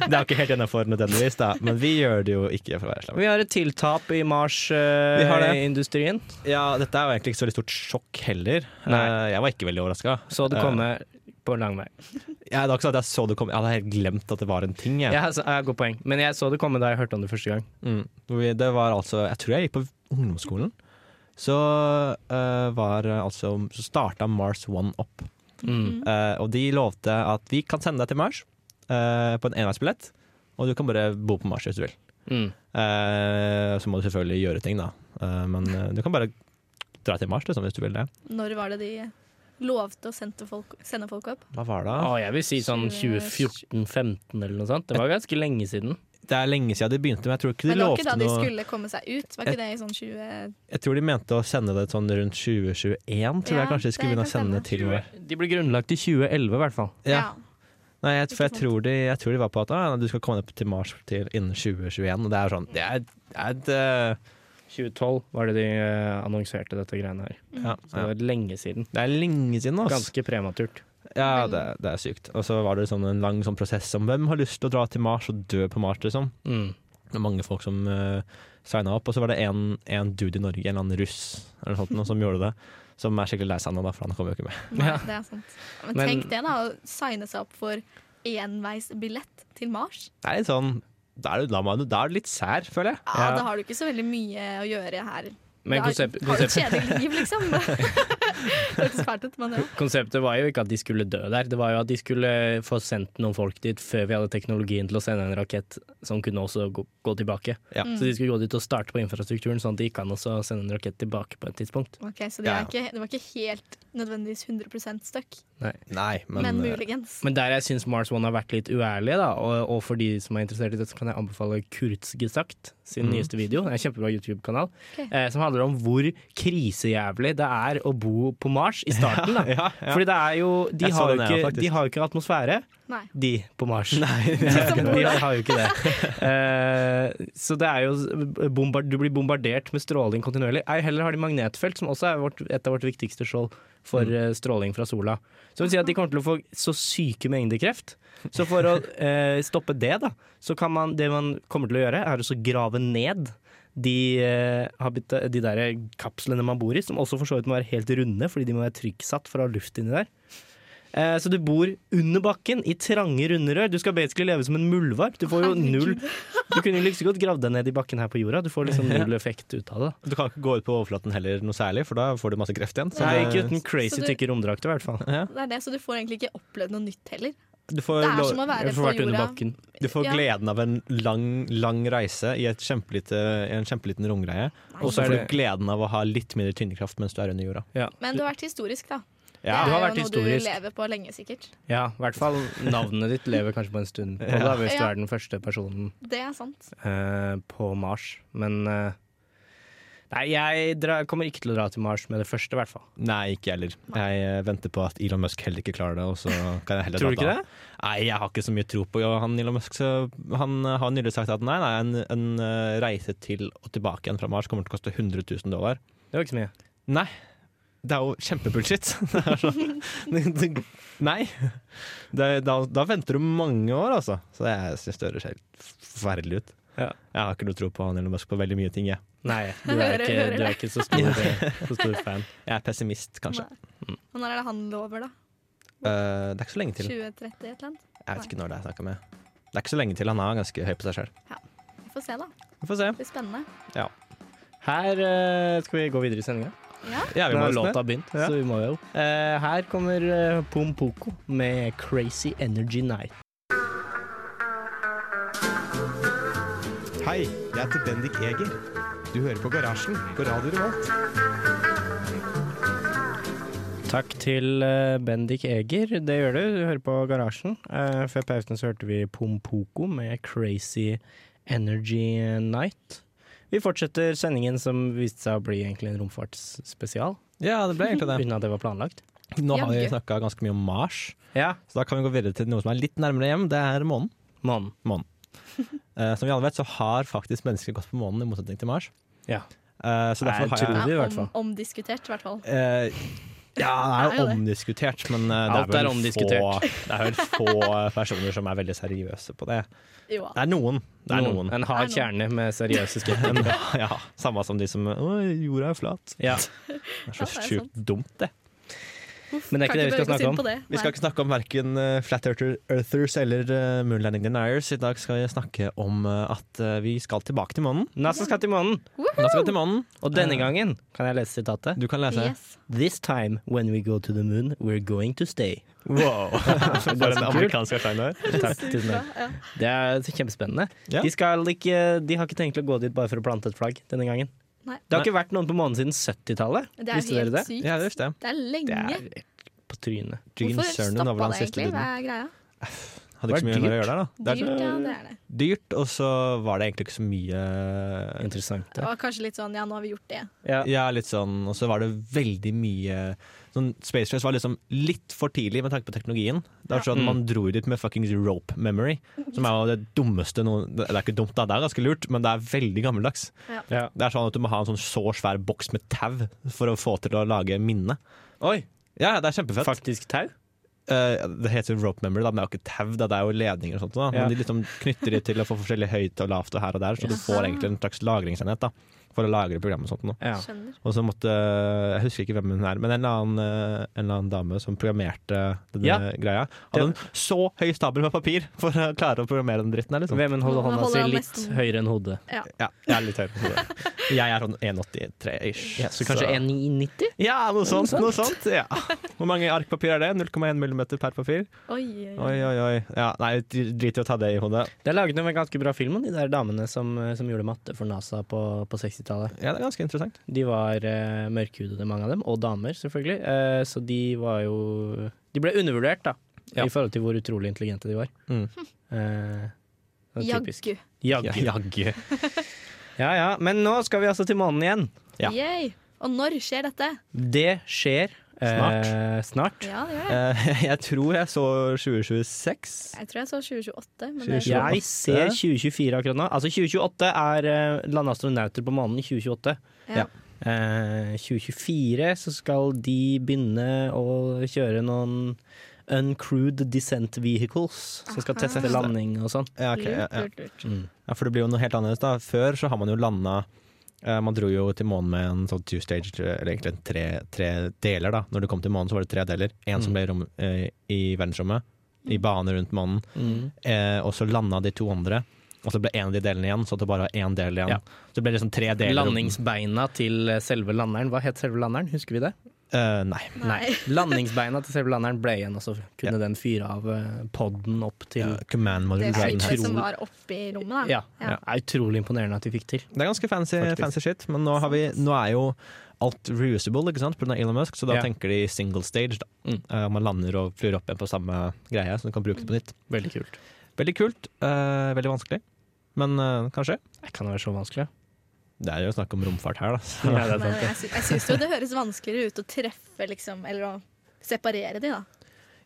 Speaker 2: Det er jo ikke helt innafor nødvendigvis, da. Men vi gjør det jo ikke for å være slemme.
Speaker 1: Vi har et tiltap i eh,
Speaker 2: Vi har det.
Speaker 1: Mars-industrien.
Speaker 2: Ja, dette er jo egentlig ikke så veldig stort sjokk heller.
Speaker 1: Nei.
Speaker 2: Eh, Jeg var ikke veldig overraska.
Speaker 1: så det kommer på lang vei.
Speaker 2: Jeg, det var ikke sånn at jeg så det komme. Jeg hadde helt glemt at det var en ting, jeg.
Speaker 1: Ja, altså, ja, godt poeng. Men jeg så det komme da jeg hørte om det første gang.
Speaker 2: Mm. Hvor vi- Det var altså Jeg tror jeg gikk på ungdomsskolen. Så eh, var eh, altså Så starta Mars One opp.
Speaker 1: Mm.
Speaker 2: Eh, og de lovte at vi kan sende deg til Mars eh, på en enveisbillett, og du kan bare bo på Mars hvis du vil.
Speaker 1: Mm.
Speaker 2: Eh, så må du selvfølgelig gjøre ting, da. Eh, men eh, du kan bare dra til Mars liksom, hvis du vil det.
Speaker 3: Når var det de lovte å sende folk, sende folk opp?
Speaker 2: Hva var det?
Speaker 1: Å, jeg vil si sånn
Speaker 3: Tjue-
Speaker 1: 2014-15 eller noe sånt. Det var ganske lenge siden.
Speaker 2: Det er lenge siden de begynte, men jeg tror ikke de
Speaker 3: Men det var ikke
Speaker 2: lovte
Speaker 3: da de
Speaker 2: noe
Speaker 3: skulle komme seg ut? Var ikke det i sånn 20...
Speaker 2: Jeg tror de mente å sende det sånn rundt 2021, tror
Speaker 3: Ja,
Speaker 2: jeg kanskje de skulle
Speaker 3: det
Speaker 2: begynne å
Speaker 3: kan
Speaker 2: sende
Speaker 3: stemme.
Speaker 2: til
Speaker 1: De ble grunnlagt i 2011 i hvert fall.
Speaker 2: Ja. Nei, jeg, for jeg
Speaker 3: Ikke sant.
Speaker 2: tror, de, jeg tror de var på at ah, du skal komme deg til Mars til innen 2021. Og det er sånn Det er, det er et eh,
Speaker 1: 2012 var det de eh, annonserte dette greiene her.
Speaker 3: Mm.
Speaker 2: ja,
Speaker 1: Så det
Speaker 2: ja.
Speaker 1: var lenge siden.
Speaker 2: Det er lenge siden, altså.
Speaker 1: Ganske prematurt.
Speaker 2: Ja, det, det er sykt. Og så var det sånn en lang sånn prosess om hvem har lyst til å dra til Mars og dø på Mars, liksom.
Speaker 1: Mm.
Speaker 2: Det var mange folk som uh, signa opp. Og så var det en, en dude i Norge, en eller annen russ, eller noe sånt, noe, som gjorde det. Som er skikkelig lei seg nå, da, for han kommer jo ikke med.
Speaker 3: Nei,
Speaker 1: Ja.
Speaker 3: det er sant. Men,
Speaker 1: Men-
Speaker 3: tenk det, da. Å signe seg opp for enveisbillett til Mars.
Speaker 2: Det er litt sånn Da er du, da, må du- da er du litt sær, føler jeg.
Speaker 3: Ja,
Speaker 1: Ja.
Speaker 3: Da har du ikke så veldig mye å gjøre her.
Speaker 1: Men
Speaker 3: Da
Speaker 1: konsept,
Speaker 3: har du et
Speaker 1: konsept,
Speaker 3: kjedelig liv, liksom. det høres fælt ut, men ja.
Speaker 1: konseptet var jo ikke at de skulle dø der. Det var jo at de skulle få sendt noen folk dit før vi hadde teknologien til å sende en rakett som kunne også gå, gå tilbake.
Speaker 2: Ja.
Speaker 3: Mm.
Speaker 1: Så de skulle gå dit og starte på infrastrukturen, sånn at det gikk an å sende en rakett tilbake på et tidspunkt.
Speaker 3: Ok, Så det
Speaker 2: Ja,
Speaker 3: var
Speaker 2: ja.
Speaker 3: ikke, det var ikke helt nødvendigvis 100 støkk,
Speaker 1: Nei.
Speaker 2: Nei,
Speaker 3: men,
Speaker 2: men, eh,
Speaker 3: muligens.
Speaker 1: Men der jeg syns Mars One har vært litt uærlig, da, og, og for de som er interessert i det, så kan jeg anbefale Kurzgesagt sin
Speaker 2: Mhm.
Speaker 1: nyeste video. Det er en kjempebra YouTube-kanal.
Speaker 3: Ok.
Speaker 1: Eh, som handler om hvor krisejævlig det er å bo god på Mars i starten. da
Speaker 2: Ja, ja.
Speaker 1: Fordi det er jo De,
Speaker 2: Jeg så
Speaker 1: har jo,
Speaker 2: den, ja,
Speaker 1: ikke,
Speaker 2: faktisk.
Speaker 1: de har jo ikke atmosfære,
Speaker 3: Nei.
Speaker 1: de på Mars.
Speaker 2: Nei, det er
Speaker 1: De
Speaker 2: ikke
Speaker 3: Som
Speaker 2: det.
Speaker 3: bor der.
Speaker 1: har jo ikke det. Eh, så det er jo bombar Du blir bombardert med stråling kontinuerlig. Ei heller har de magnetfelt, som også er vårt, et av vårt viktigste skjold for eh, stråling fra sola. Så det vil si at de kommer til å få så syke mengder kreft. Så for å eh, stoppe det, da, så kan man Det man kommer til å gjøre, er å så grave ned de, eh, habita de der kapslene man bor i, som også for så vidt må være helt runde, fordi de må være trykksatt for å ha luft inni der. Eh, Så du bor under bakken i trange, runde rør. Du skal basically leve som en muldvarp. Du får jo null
Speaker 3: Herregud.
Speaker 1: Du kunne jo like så godt gravd deg ned i bakken her på jorda. Du får liksom null effekt ut av det.
Speaker 2: Du kan ikke gå ut på overflaten heller noe særlig, for da får du masse kreft igjen. så
Speaker 1: Nei,
Speaker 2: det-
Speaker 1: ikke uten crazy
Speaker 3: Så du-
Speaker 1: tykke romdrakter, i hvert fall.
Speaker 2: Ja.
Speaker 3: Det er det, så du får egentlig ikke opplevd noe nytt heller.
Speaker 2: Du får,
Speaker 3: Det er
Speaker 2: lov-
Speaker 3: som å
Speaker 1: Du
Speaker 3: være
Speaker 1: får
Speaker 3: på
Speaker 1: vært under
Speaker 3: jorda.
Speaker 1: bakken.
Speaker 2: du får
Speaker 3: Ja.
Speaker 2: gleden av en lang, lang reise i, et kjempelite, i en kjempeliten romgreie.
Speaker 3: Nei.
Speaker 2: Og så
Speaker 1: er
Speaker 2: får du
Speaker 1: det-
Speaker 2: gleden av å ha litt mindre tynnekraft mens du er under jorda.
Speaker 1: Ja.
Speaker 3: Men du har vært historisk, da.
Speaker 2: Ja,
Speaker 1: du
Speaker 3: det
Speaker 1: har
Speaker 3: er
Speaker 1: vært
Speaker 3: jo noe
Speaker 1: historisk.
Speaker 3: du lever på lenge, sikkert.
Speaker 1: ja, i hvert fall navnet ditt lever kanskje på en stund. På, da, hvis du
Speaker 3: Ja.
Speaker 1: er den første personen
Speaker 3: Det er sant.
Speaker 1: eh, på Mars. Men eh, Nei, jeg dra, kommer ikke til å dra til Mars med det første, i hvert fall.
Speaker 2: Nei, ikke heller. Jeg eh, venter på at Elon Musk heller ikke klarer det. Og så kan jeg heller
Speaker 1: Tror du
Speaker 2: dra
Speaker 1: ikke
Speaker 2: da. Nei, jeg har ikke så mye tro på han Elon Musk. Så han eh, har nylig sagt at nei, nei, en, en eh, reise til og tilbake igjen fra Mars kommer til å koste 100 000 dollar.
Speaker 1: Det var ikke så mye.
Speaker 2: Nei. Det er jo kjempebullshit. Det er så- nei. Det, da, da venter du mange år, altså. Så jeg syns det høres helt forferdelig ut.
Speaker 1: Ja.
Speaker 2: Jeg har ikke noe tro på han Elon Musk på veldig mye ting, jeg.
Speaker 1: Nei, du er
Speaker 3: Hører-
Speaker 1: ikke,
Speaker 3: hører
Speaker 1: du er ikke så, stor, så stor fan.
Speaker 2: Jeg er pessimist, kanskje.
Speaker 3: Nei. Og når er det han lover, da?
Speaker 2: Eh, det er ikke så lenge til.
Speaker 3: 2030 et eller annet?
Speaker 2: Jeg vet ikke når det er snakka med. Det er ikke så lenge til han er ganske høy på seg sjøl.
Speaker 3: Vi får se, da. Det
Speaker 2: Vi får se.
Speaker 3: blir spennende.
Speaker 1: Her eh, skal vi gå videre i sendinga.
Speaker 3: Ja.
Speaker 2: Ja, vi
Speaker 1: Nå
Speaker 2: må
Speaker 1: har
Speaker 2: nesten
Speaker 1: låta
Speaker 2: det.
Speaker 1: begynt,
Speaker 2: Ja.
Speaker 1: så vi må jo. Eh, her kommer eh, Pom Poko med 'Crazy Energy Night'.
Speaker 4: Hei, jeg heter Bendik Eger. Du hører på Garasjen på Radio Revolt.
Speaker 1: Takk til eh, Bendik Eger. Det gjør du. Du hører på Garasjen. Eh, før pausen så hørte vi Pom Poko med 'Crazy Energy Night'. Vi fortsetter sendingen som viste seg å bli egentlig en romfartsspesial.
Speaker 2: Ja, det ble egentlig det.
Speaker 1: Uten at det var planlagt.
Speaker 2: Nå har vi
Speaker 3: Jaggu.
Speaker 2: snakka ganske mye om Mars,
Speaker 1: Ja,
Speaker 2: så da kan vi gå videre til noe som er litt nærmere hjem. Det er månen.
Speaker 1: månen.
Speaker 2: månen. Eh, som vi alle vet, så har faktisk mennesker gått på månen, i motsetning til Mars.
Speaker 1: Ja.
Speaker 2: Eh, så
Speaker 1: Nei, jeg
Speaker 2: derfor har jeg
Speaker 1: tror-
Speaker 3: Det
Speaker 1: Hodet i
Speaker 3: er
Speaker 1: hvert
Speaker 3: om, omdiskutert, i hvert fall.
Speaker 2: Eh, ja,
Speaker 3: Det
Speaker 2: det er
Speaker 3: er
Speaker 2: jo
Speaker 3: jo det.
Speaker 2: omdiskutert, men eh,
Speaker 1: Alt
Speaker 2: det
Speaker 1: er
Speaker 2: er vel
Speaker 1: omdiskutert.
Speaker 2: få, det er vel få personer som er veldig seriøse på det.
Speaker 3: Jo,
Speaker 2: Det er noen. Det er noen.
Speaker 1: En hard kjerne med seriøse skeptikere.
Speaker 2: Ja, Samme som de som Å, jorda er flat.
Speaker 1: Ja.
Speaker 2: Det er
Speaker 3: Ja,
Speaker 2: så
Speaker 3: det er
Speaker 2: sjukt dumt, det.
Speaker 3: Uff,
Speaker 1: Men det er ikke
Speaker 3: kan
Speaker 1: det vi skal
Speaker 3: bevege oss
Speaker 1: snakke
Speaker 3: inn
Speaker 1: om.
Speaker 3: på Det.
Speaker 2: Vi skal ikke snakke om verken eh, Flat Earther- Earthers eller eh, Moonlanding Deniers. I dag skal vi snakke om eh, at eh, vi skal tilbake til månen.
Speaker 1: NASA skal til månen,
Speaker 2: Da skal vi til månen.
Speaker 1: og denne gangen kan jeg lese sitatet.
Speaker 2: Du kan lese.
Speaker 3: Yes.
Speaker 1: This time when we go to the moon, we're going to stay.
Speaker 2: Wow! For en amerikansk ertegn der.
Speaker 1: Takk, tusen takk.
Speaker 3: Ja.
Speaker 1: Det er kjempespennende.
Speaker 2: Ja.
Speaker 1: De, skal ikke, de har ikke tenkt å gå dit bare for å plante et flagg denne gangen.
Speaker 3: Nei.
Speaker 1: Det har ikke vært noen på månen siden 70-tallet.
Speaker 3: Det er
Speaker 1: Visste
Speaker 3: jo
Speaker 1: dere
Speaker 3: helt
Speaker 1: det?
Speaker 3: sykt.
Speaker 2: Ja, det visste jeg.
Speaker 3: Det er lenge.
Speaker 1: Det er på trynet.
Speaker 2: Gene
Speaker 3: Hvorfor
Speaker 2: Cernan
Speaker 3: stoppa
Speaker 2: var vel
Speaker 3: det
Speaker 2: hans siste
Speaker 3: egentlig? Hva
Speaker 2: duden.
Speaker 3: er greia?
Speaker 2: Hadde ikke så
Speaker 1: Det
Speaker 2: mye
Speaker 1: er
Speaker 2: med å gjøre der, da. Det
Speaker 3: Dyrt,
Speaker 2: er sånn
Speaker 3: ja, det er det.
Speaker 2: dyrt, og så var det egentlig ikke så mye
Speaker 1: Interessant.
Speaker 3: Det
Speaker 1: Ja.
Speaker 3: var kanskje litt sånn ja, nå har vi gjort det.
Speaker 1: Ja.
Speaker 2: Ja, litt sånn, og så var det veldig mye sånn, Space Race var liksom litt for tidlig med tanke på teknologien. Det var sånn,
Speaker 1: Mm.
Speaker 2: Man dro jo dit med fuckings rope memory, som er jo det dummeste noen Det er ikke dumt, da, det er ganske lurt, men det er veldig gammeldags.
Speaker 1: Ja.
Speaker 2: Det er sånn at Du må ha en sånn så svær boks med tau for å få til å lage minne.
Speaker 1: Oi,
Speaker 2: Ja, ja, det er kjempefett.
Speaker 1: faktisk tau?
Speaker 2: Eh, det heter jo rope memory, da, men det er jo ikke tau, da, det er jo ledninger og sånt. Da.
Speaker 1: Ja.
Speaker 2: Men de liksom knytter det til å få forskjellig høyt og lavt og her og der, så du får egentlig en slags lagringsenhet da, for å lagre programmet og sånt. Da.
Speaker 1: Ja.
Speaker 3: Skjønner.
Speaker 2: Og så måtte Jeg husker ikke hvem hun er, men en eller annen, eh, en eller annen dame som programmerte denne
Speaker 1: Ja.
Speaker 2: greia, hadde en så høy stabel med papir for å klare å programmere den dritten her, liksom.
Speaker 1: Vemund holder
Speaker 3: Nå
Speaker 1: hånda
Speaker 3: holder
Speaker 1: si
Speaker 3: han
Speaker 1: litt
Speaker 3: nesten-
Speaker 1: høyere enn hodet.
Speaker 2: Ja, jeg er litt høy. på det. Jeg er sånn 1,83-ish.
Speaker 1: så kanskje 1,90?
Speaker 2: Ja, noe sånt.
Speaker 1: sant?
Speaker 2: Noe sånt ja. Hvor mange ark papir er det? 0,1 millimeter per papir?
Speaker 3: Oi, oi,
Speaker 2: Oi, oi, oi. Ja, nei, drit i å ta det i hodet.
Speaker 1: Det er laget en ganske bra film om de der damene som, eh, som gjorde matte for NASA på, på 60-tallet.
Speaker 2: Ja, det er ganske interessant.
Speaker 1: De var eh, mørkhudede, mange av dem, og damer, selvfølgelig. Eh, så de var jo De ble undervurdert, da,
Speaker 2: Ja.
Speaker 1: i forhold til hvor utrolig intelligente de var.
Speaker 2: Mm.
Speaker 1: Eh,
Speaker 3: oi.
Speaker 1: det er typisk.
Speaker 3: Jaggu.
Speaker 1: Jaggu.
Speaker 2: Jaggu.
Speaker 1: Ja ja. Men nå skal vi altså til månen igjen.
Speaker 2: Ja.
Speaker 3: Yay. Og når skjer dette?
Speaker 1: Det skjer eh, snart.
Speaker 3: Ja, det gjør det.
Speaker 2: Eh, jeg tror jeg så 2026.
Speaker 3: Jeg tror jeg så 2028. Men det,
Speaker 2: 2028.
Speaker 1: Jeg ser 2024 akkurat nå. Altså 2028 er eh, landastronauter på månen i 2028.
Speaker 3: ja.
Speaker 1: Eh, 2024 så skal de begynne å kjøre noen uncrewed descent vehicles som skal
Speaker 3: Aha.
Speaker 1: teste landing og sånn.
Speaker 2: Ja, ok, ja,
Speaker 3: lurt,
Speaker 2: ja.
Speaker 3: lurt, lurt.
Speaker 1: Mm.
Speaker 2: ja, for det blir jo noe helt annerledes da. Før så har man jo landa eh, Man dro jo til månen med en sånn two stage, eller egentlig en tre, tre deler da. Når du kom til månen så var det tre deler. En som
Speaker 1: Mm.
Speaker 2: ble i rom, eh, i verdensrommet, i bane rundt månen.
Speaker 1: Mm.
Speaker 2: Eh, og så landa de to andre. Og så ble en av de delene igjen, så det bare var én del igjen.
Speaker 1: Ja.
Speaker 2: Så det ble liksom tre deler.
Speaker 1: Landingsbeina til selve landeren. Hva het selve landeren? Husker vi det?
Speaker 2: Eh, nei.
Speaker 3: Nei.
Speaker 1: Landingsbeina til selve landeren ble igjen, og så kunne den fyre av eh, podden opp til
Speaker 2: Ja, command module
Speaker 3: Det
Speaker 2: Dragon.
Speaker 3: skipet
Speaker 1: utrolig.
Speaker 3: som var oppe i rommet, da.
Speaker 1: Ja.
Speaker 3: Ah, Ja.
Speaker 1: Det er utrolig imponerende at de fikk til.
Speaker 2: Det er ganske fancy,
Speaker 1: Faktisk.
Speaker 2: fancy shit, men nå, har vi, nå er jo alt reusable ikke sant? på grunn av Elon Musk, så da
Speaker 1: Ja.
Speaker 2: tenker de single stage. Da.
Speaker 1: Mm.
Speaker 2: Eh, man lander og flyr opp igjen på samme greie, så du kan bruke det på nytt.
Speaker 1: Veldig kult.
Speaker 2: Veldig kult, eh, veldig vanskelig, men eh, kanskje.
Speaker 1: Det kan være så vanskelig.
Speaker 2: Det er jo snakk om romfart her, da. Så.
Speaker 1: Ja, det er
Speaker 3: Men
Speaker 1: sant.
Speaker 3: jeg, sy jeg syns jo det høres vanskeligere ut å treffe, liksom, eller å separere de, da.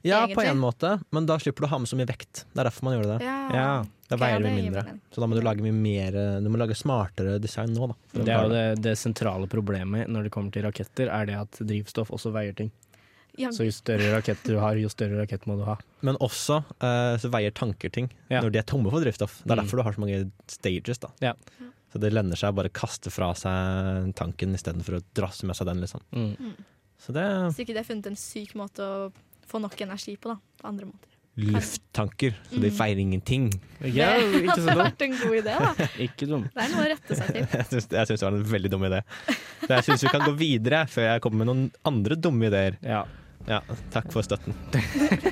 Speaker 2: Ja, på
Speaker 3: Egentlig.
Speaker 2: en måte, men da slipper du å ha med så mye vekt. Det er derfor man gjør det.
Speaker 1: Ja.
Speaker 2: Da
Speaker 3: Ok, ja,
Speaker 2: veier
Speaker 3: det
Speaker 2: vi
Speaker 3: gir
Speaker 2: mindre.
Speaker 3: mening.
Speaker 2: Så da må du lage mye mer eh, Du må lage smartere design nå, da. for å
Speaker 1: Det er jo
Speaker 2: klare
Speaker 1: det, det sentrale problemet når det kommer til raketter, er det at drivstoff også veier ting.
Speaker 3: Ja,
Speaker 1: Så jo større rakett du har, jo større rakett må du ha.
Speaker 2: Men også eh, så veier tanker ting
Speaker 1: Ja.
Speaker 2: når de er tomme for drivstoff. Det er
Speaker 1: Mm.
Speaker 2: derfor du har så mange stages. da.
Speaker 1: Ja.
Speaker 2: Så det lønner seg å bare kaste fra seg tanken istedenfor å drasse med seg den. liksom.
Speaker 1: Mm.
Speaker 2: Så det
Speaker 3: Hvis ikke de har funnet en syk måte å få nok energi på, da. På andre måter.
Speaker 2: er lufttanker, så de feirer ingenting.
Speaker 1: Ja, ikke så
Speaker 3: hadde
Speaker 1: dumt.
Speaker 3: vært en god idé, da.
Speaker 1: Ikke dumt.
Speaker 3: Det er noe å rette seg til.
Speaker 2: Jeg syns jeg syns det var en veldig dum idé. Så jeg syns vi kan gå videre før jeg kommer med noen andre dumme ideer.
Speaker 1: Ja.
Speaker 2: Ja, Takk for støtten.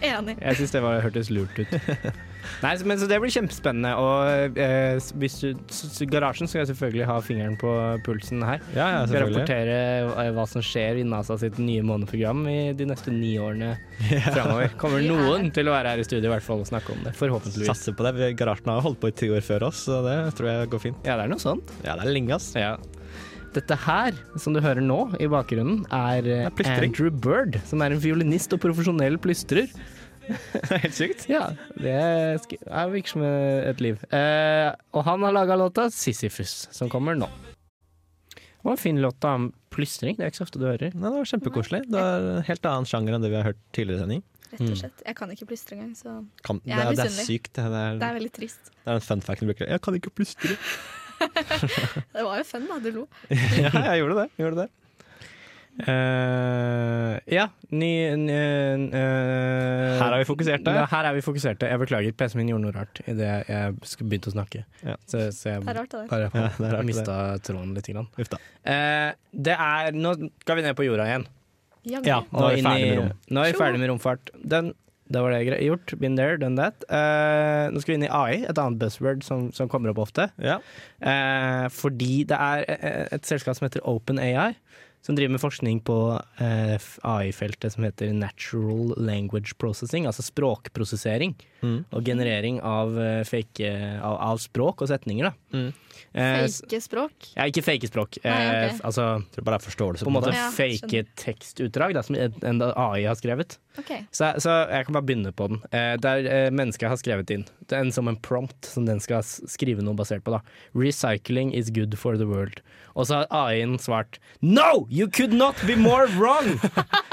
Speaker 3: Enig.
Speaker 1: Jeg syns det var, hørtes lurt ut. Nei, så- men Så det blir kjempespennende. Og eh, hvis du, s- s- Garasjen skal selvfølgelig ha fingeren på pulsen her.
Speaker 2: Ja, ja,
Speaker 1: Skal
Speaker 2: selvfølgelig.
Speaker 1: rapportere eh, hva som skjer i NASA sitt nye måneprogram i de neste ni årene framover. Kommer
Speaker 3: Vi er-
Speaker 1: noen til å være her i studio i hvert fall og snakke om det. Forhåpentligvis.
Speaker 2: Satser på det. Vi- Garasjen har holdt på i ti år før oss, så det tror jeg går fint.
Speaker 1: Ja, det er noe sånn. sånt.
Speaker 2: Ja, det er lenge, ass.
Speaker 1: Ja. Dette her, som du hører nå i bakgrunnen, er eh,
Speaker 2: Det er plystring.
Speaker 1: Andrew Bird, som er en fiolinist og profesjonell plystrer.
Speaker 2: Det er helt sykt.
Speaker 1: Ja, det sk- er- virker som et liv. Eh, og han har laga låta 'Sisyfus', som kommer nå. Det var en fin låt om plystring. Det er ikke så ofte du hører.
Speaker 2: Nei, det var kjempekoselig. Det er en helt annen sjanger enn det vi har hørt tidligere i sending.
Speaker 3: Rett og slett. Jeg kan ikke plystre engang, så
Speaker 2: Kan, det,
Speaker 3: Jeg
Speaker 2: er
Speaker 3: er
Speaker 2: det er
Speaker 3: misunnelig.
Speaker 2: sykt. Det er,
Speaker 3: det
Speaker 2: det
Speaker 3: er veldig trist.
Speaker 2: er en fun fact du bruker. Jeg kan ikke plystre.
Speaker 3: Det var jo fun, da. Du lo.
Speaker 2: ja, jeg gjorde det. jeg Gjorde det.
Speaker 1: Eh, ja, ny, ny eh,
Speaker 2: Her er vi fokuserte.
Speaker 1: Ja, her er vi fokuserte. Jeg beklager, PC-en min gjorde noe rart idet jeg sk- begynte å snakke.
Speaker 2: Ja.
Speaker 1: Så, så jeg
Speaker 3: Det er rart, det der.
Speaker 1: bare
Speaker 2: Ja, det er rart,
Speaker 1: mista tråden litt. Grann.
Speaker 2: Uff da.
Speaker 1: Eh, det er, nå skal vi ned på jorda igjen.
Speaker 3: Jaggu.
Speaker 2: Ja. Nå er
Speaker 1: Og
Speaker 2: vi
Speaker 1: inn i-
Speaker 2: ferdig med rom.
Speaker 1: Nå er vi
Speaker 3: Tjo.
Speaker 1: ferdig med romfart. Den, da var det greit gjort. Been there, done that. Eh, nå skal vi inn i AI, et annet buzzword som, som kommer opp ofte.
Speaker 2: Ja.
Speaker 1: Eh, fordi det er eh, et selskap som heter OpenAI, som driver med forskning på eh, AI-feltet som heter natural language processing, altså språkprosessering
Speaker 2: Mm.
Speaker 1: og generering av, eh, fake, eh, av, av språk og setninger. Da.
Speaker 2: Mm.
Speaker 1: Eh, s-
Speaker 3: Fake språk.
Speaker 1: ja, ikke fake språk. Eh,
Speaker 3: Nei, ok.
Speaker 1: f- Altså
Speaker 2: Jeg tror bare det er forståelse.
Speaker 1: på en måte
Speaker 3: Ja,
Speaker 1: fake
Speaker 3: skjønner.
Speaker 1: tekstutdrag da, som en en AI har skrevet.
Speaker 3: OK.
Speaker 1: Så, så jeg kan bare begynne på den. Eh, der eh, mennesket har skrevet inn. Det er en som en prompt som den skal s- skrive noe basert på. da. 'Recycling is good for the world'. Og så har AI-en svart 'No! You could not be more wrong!'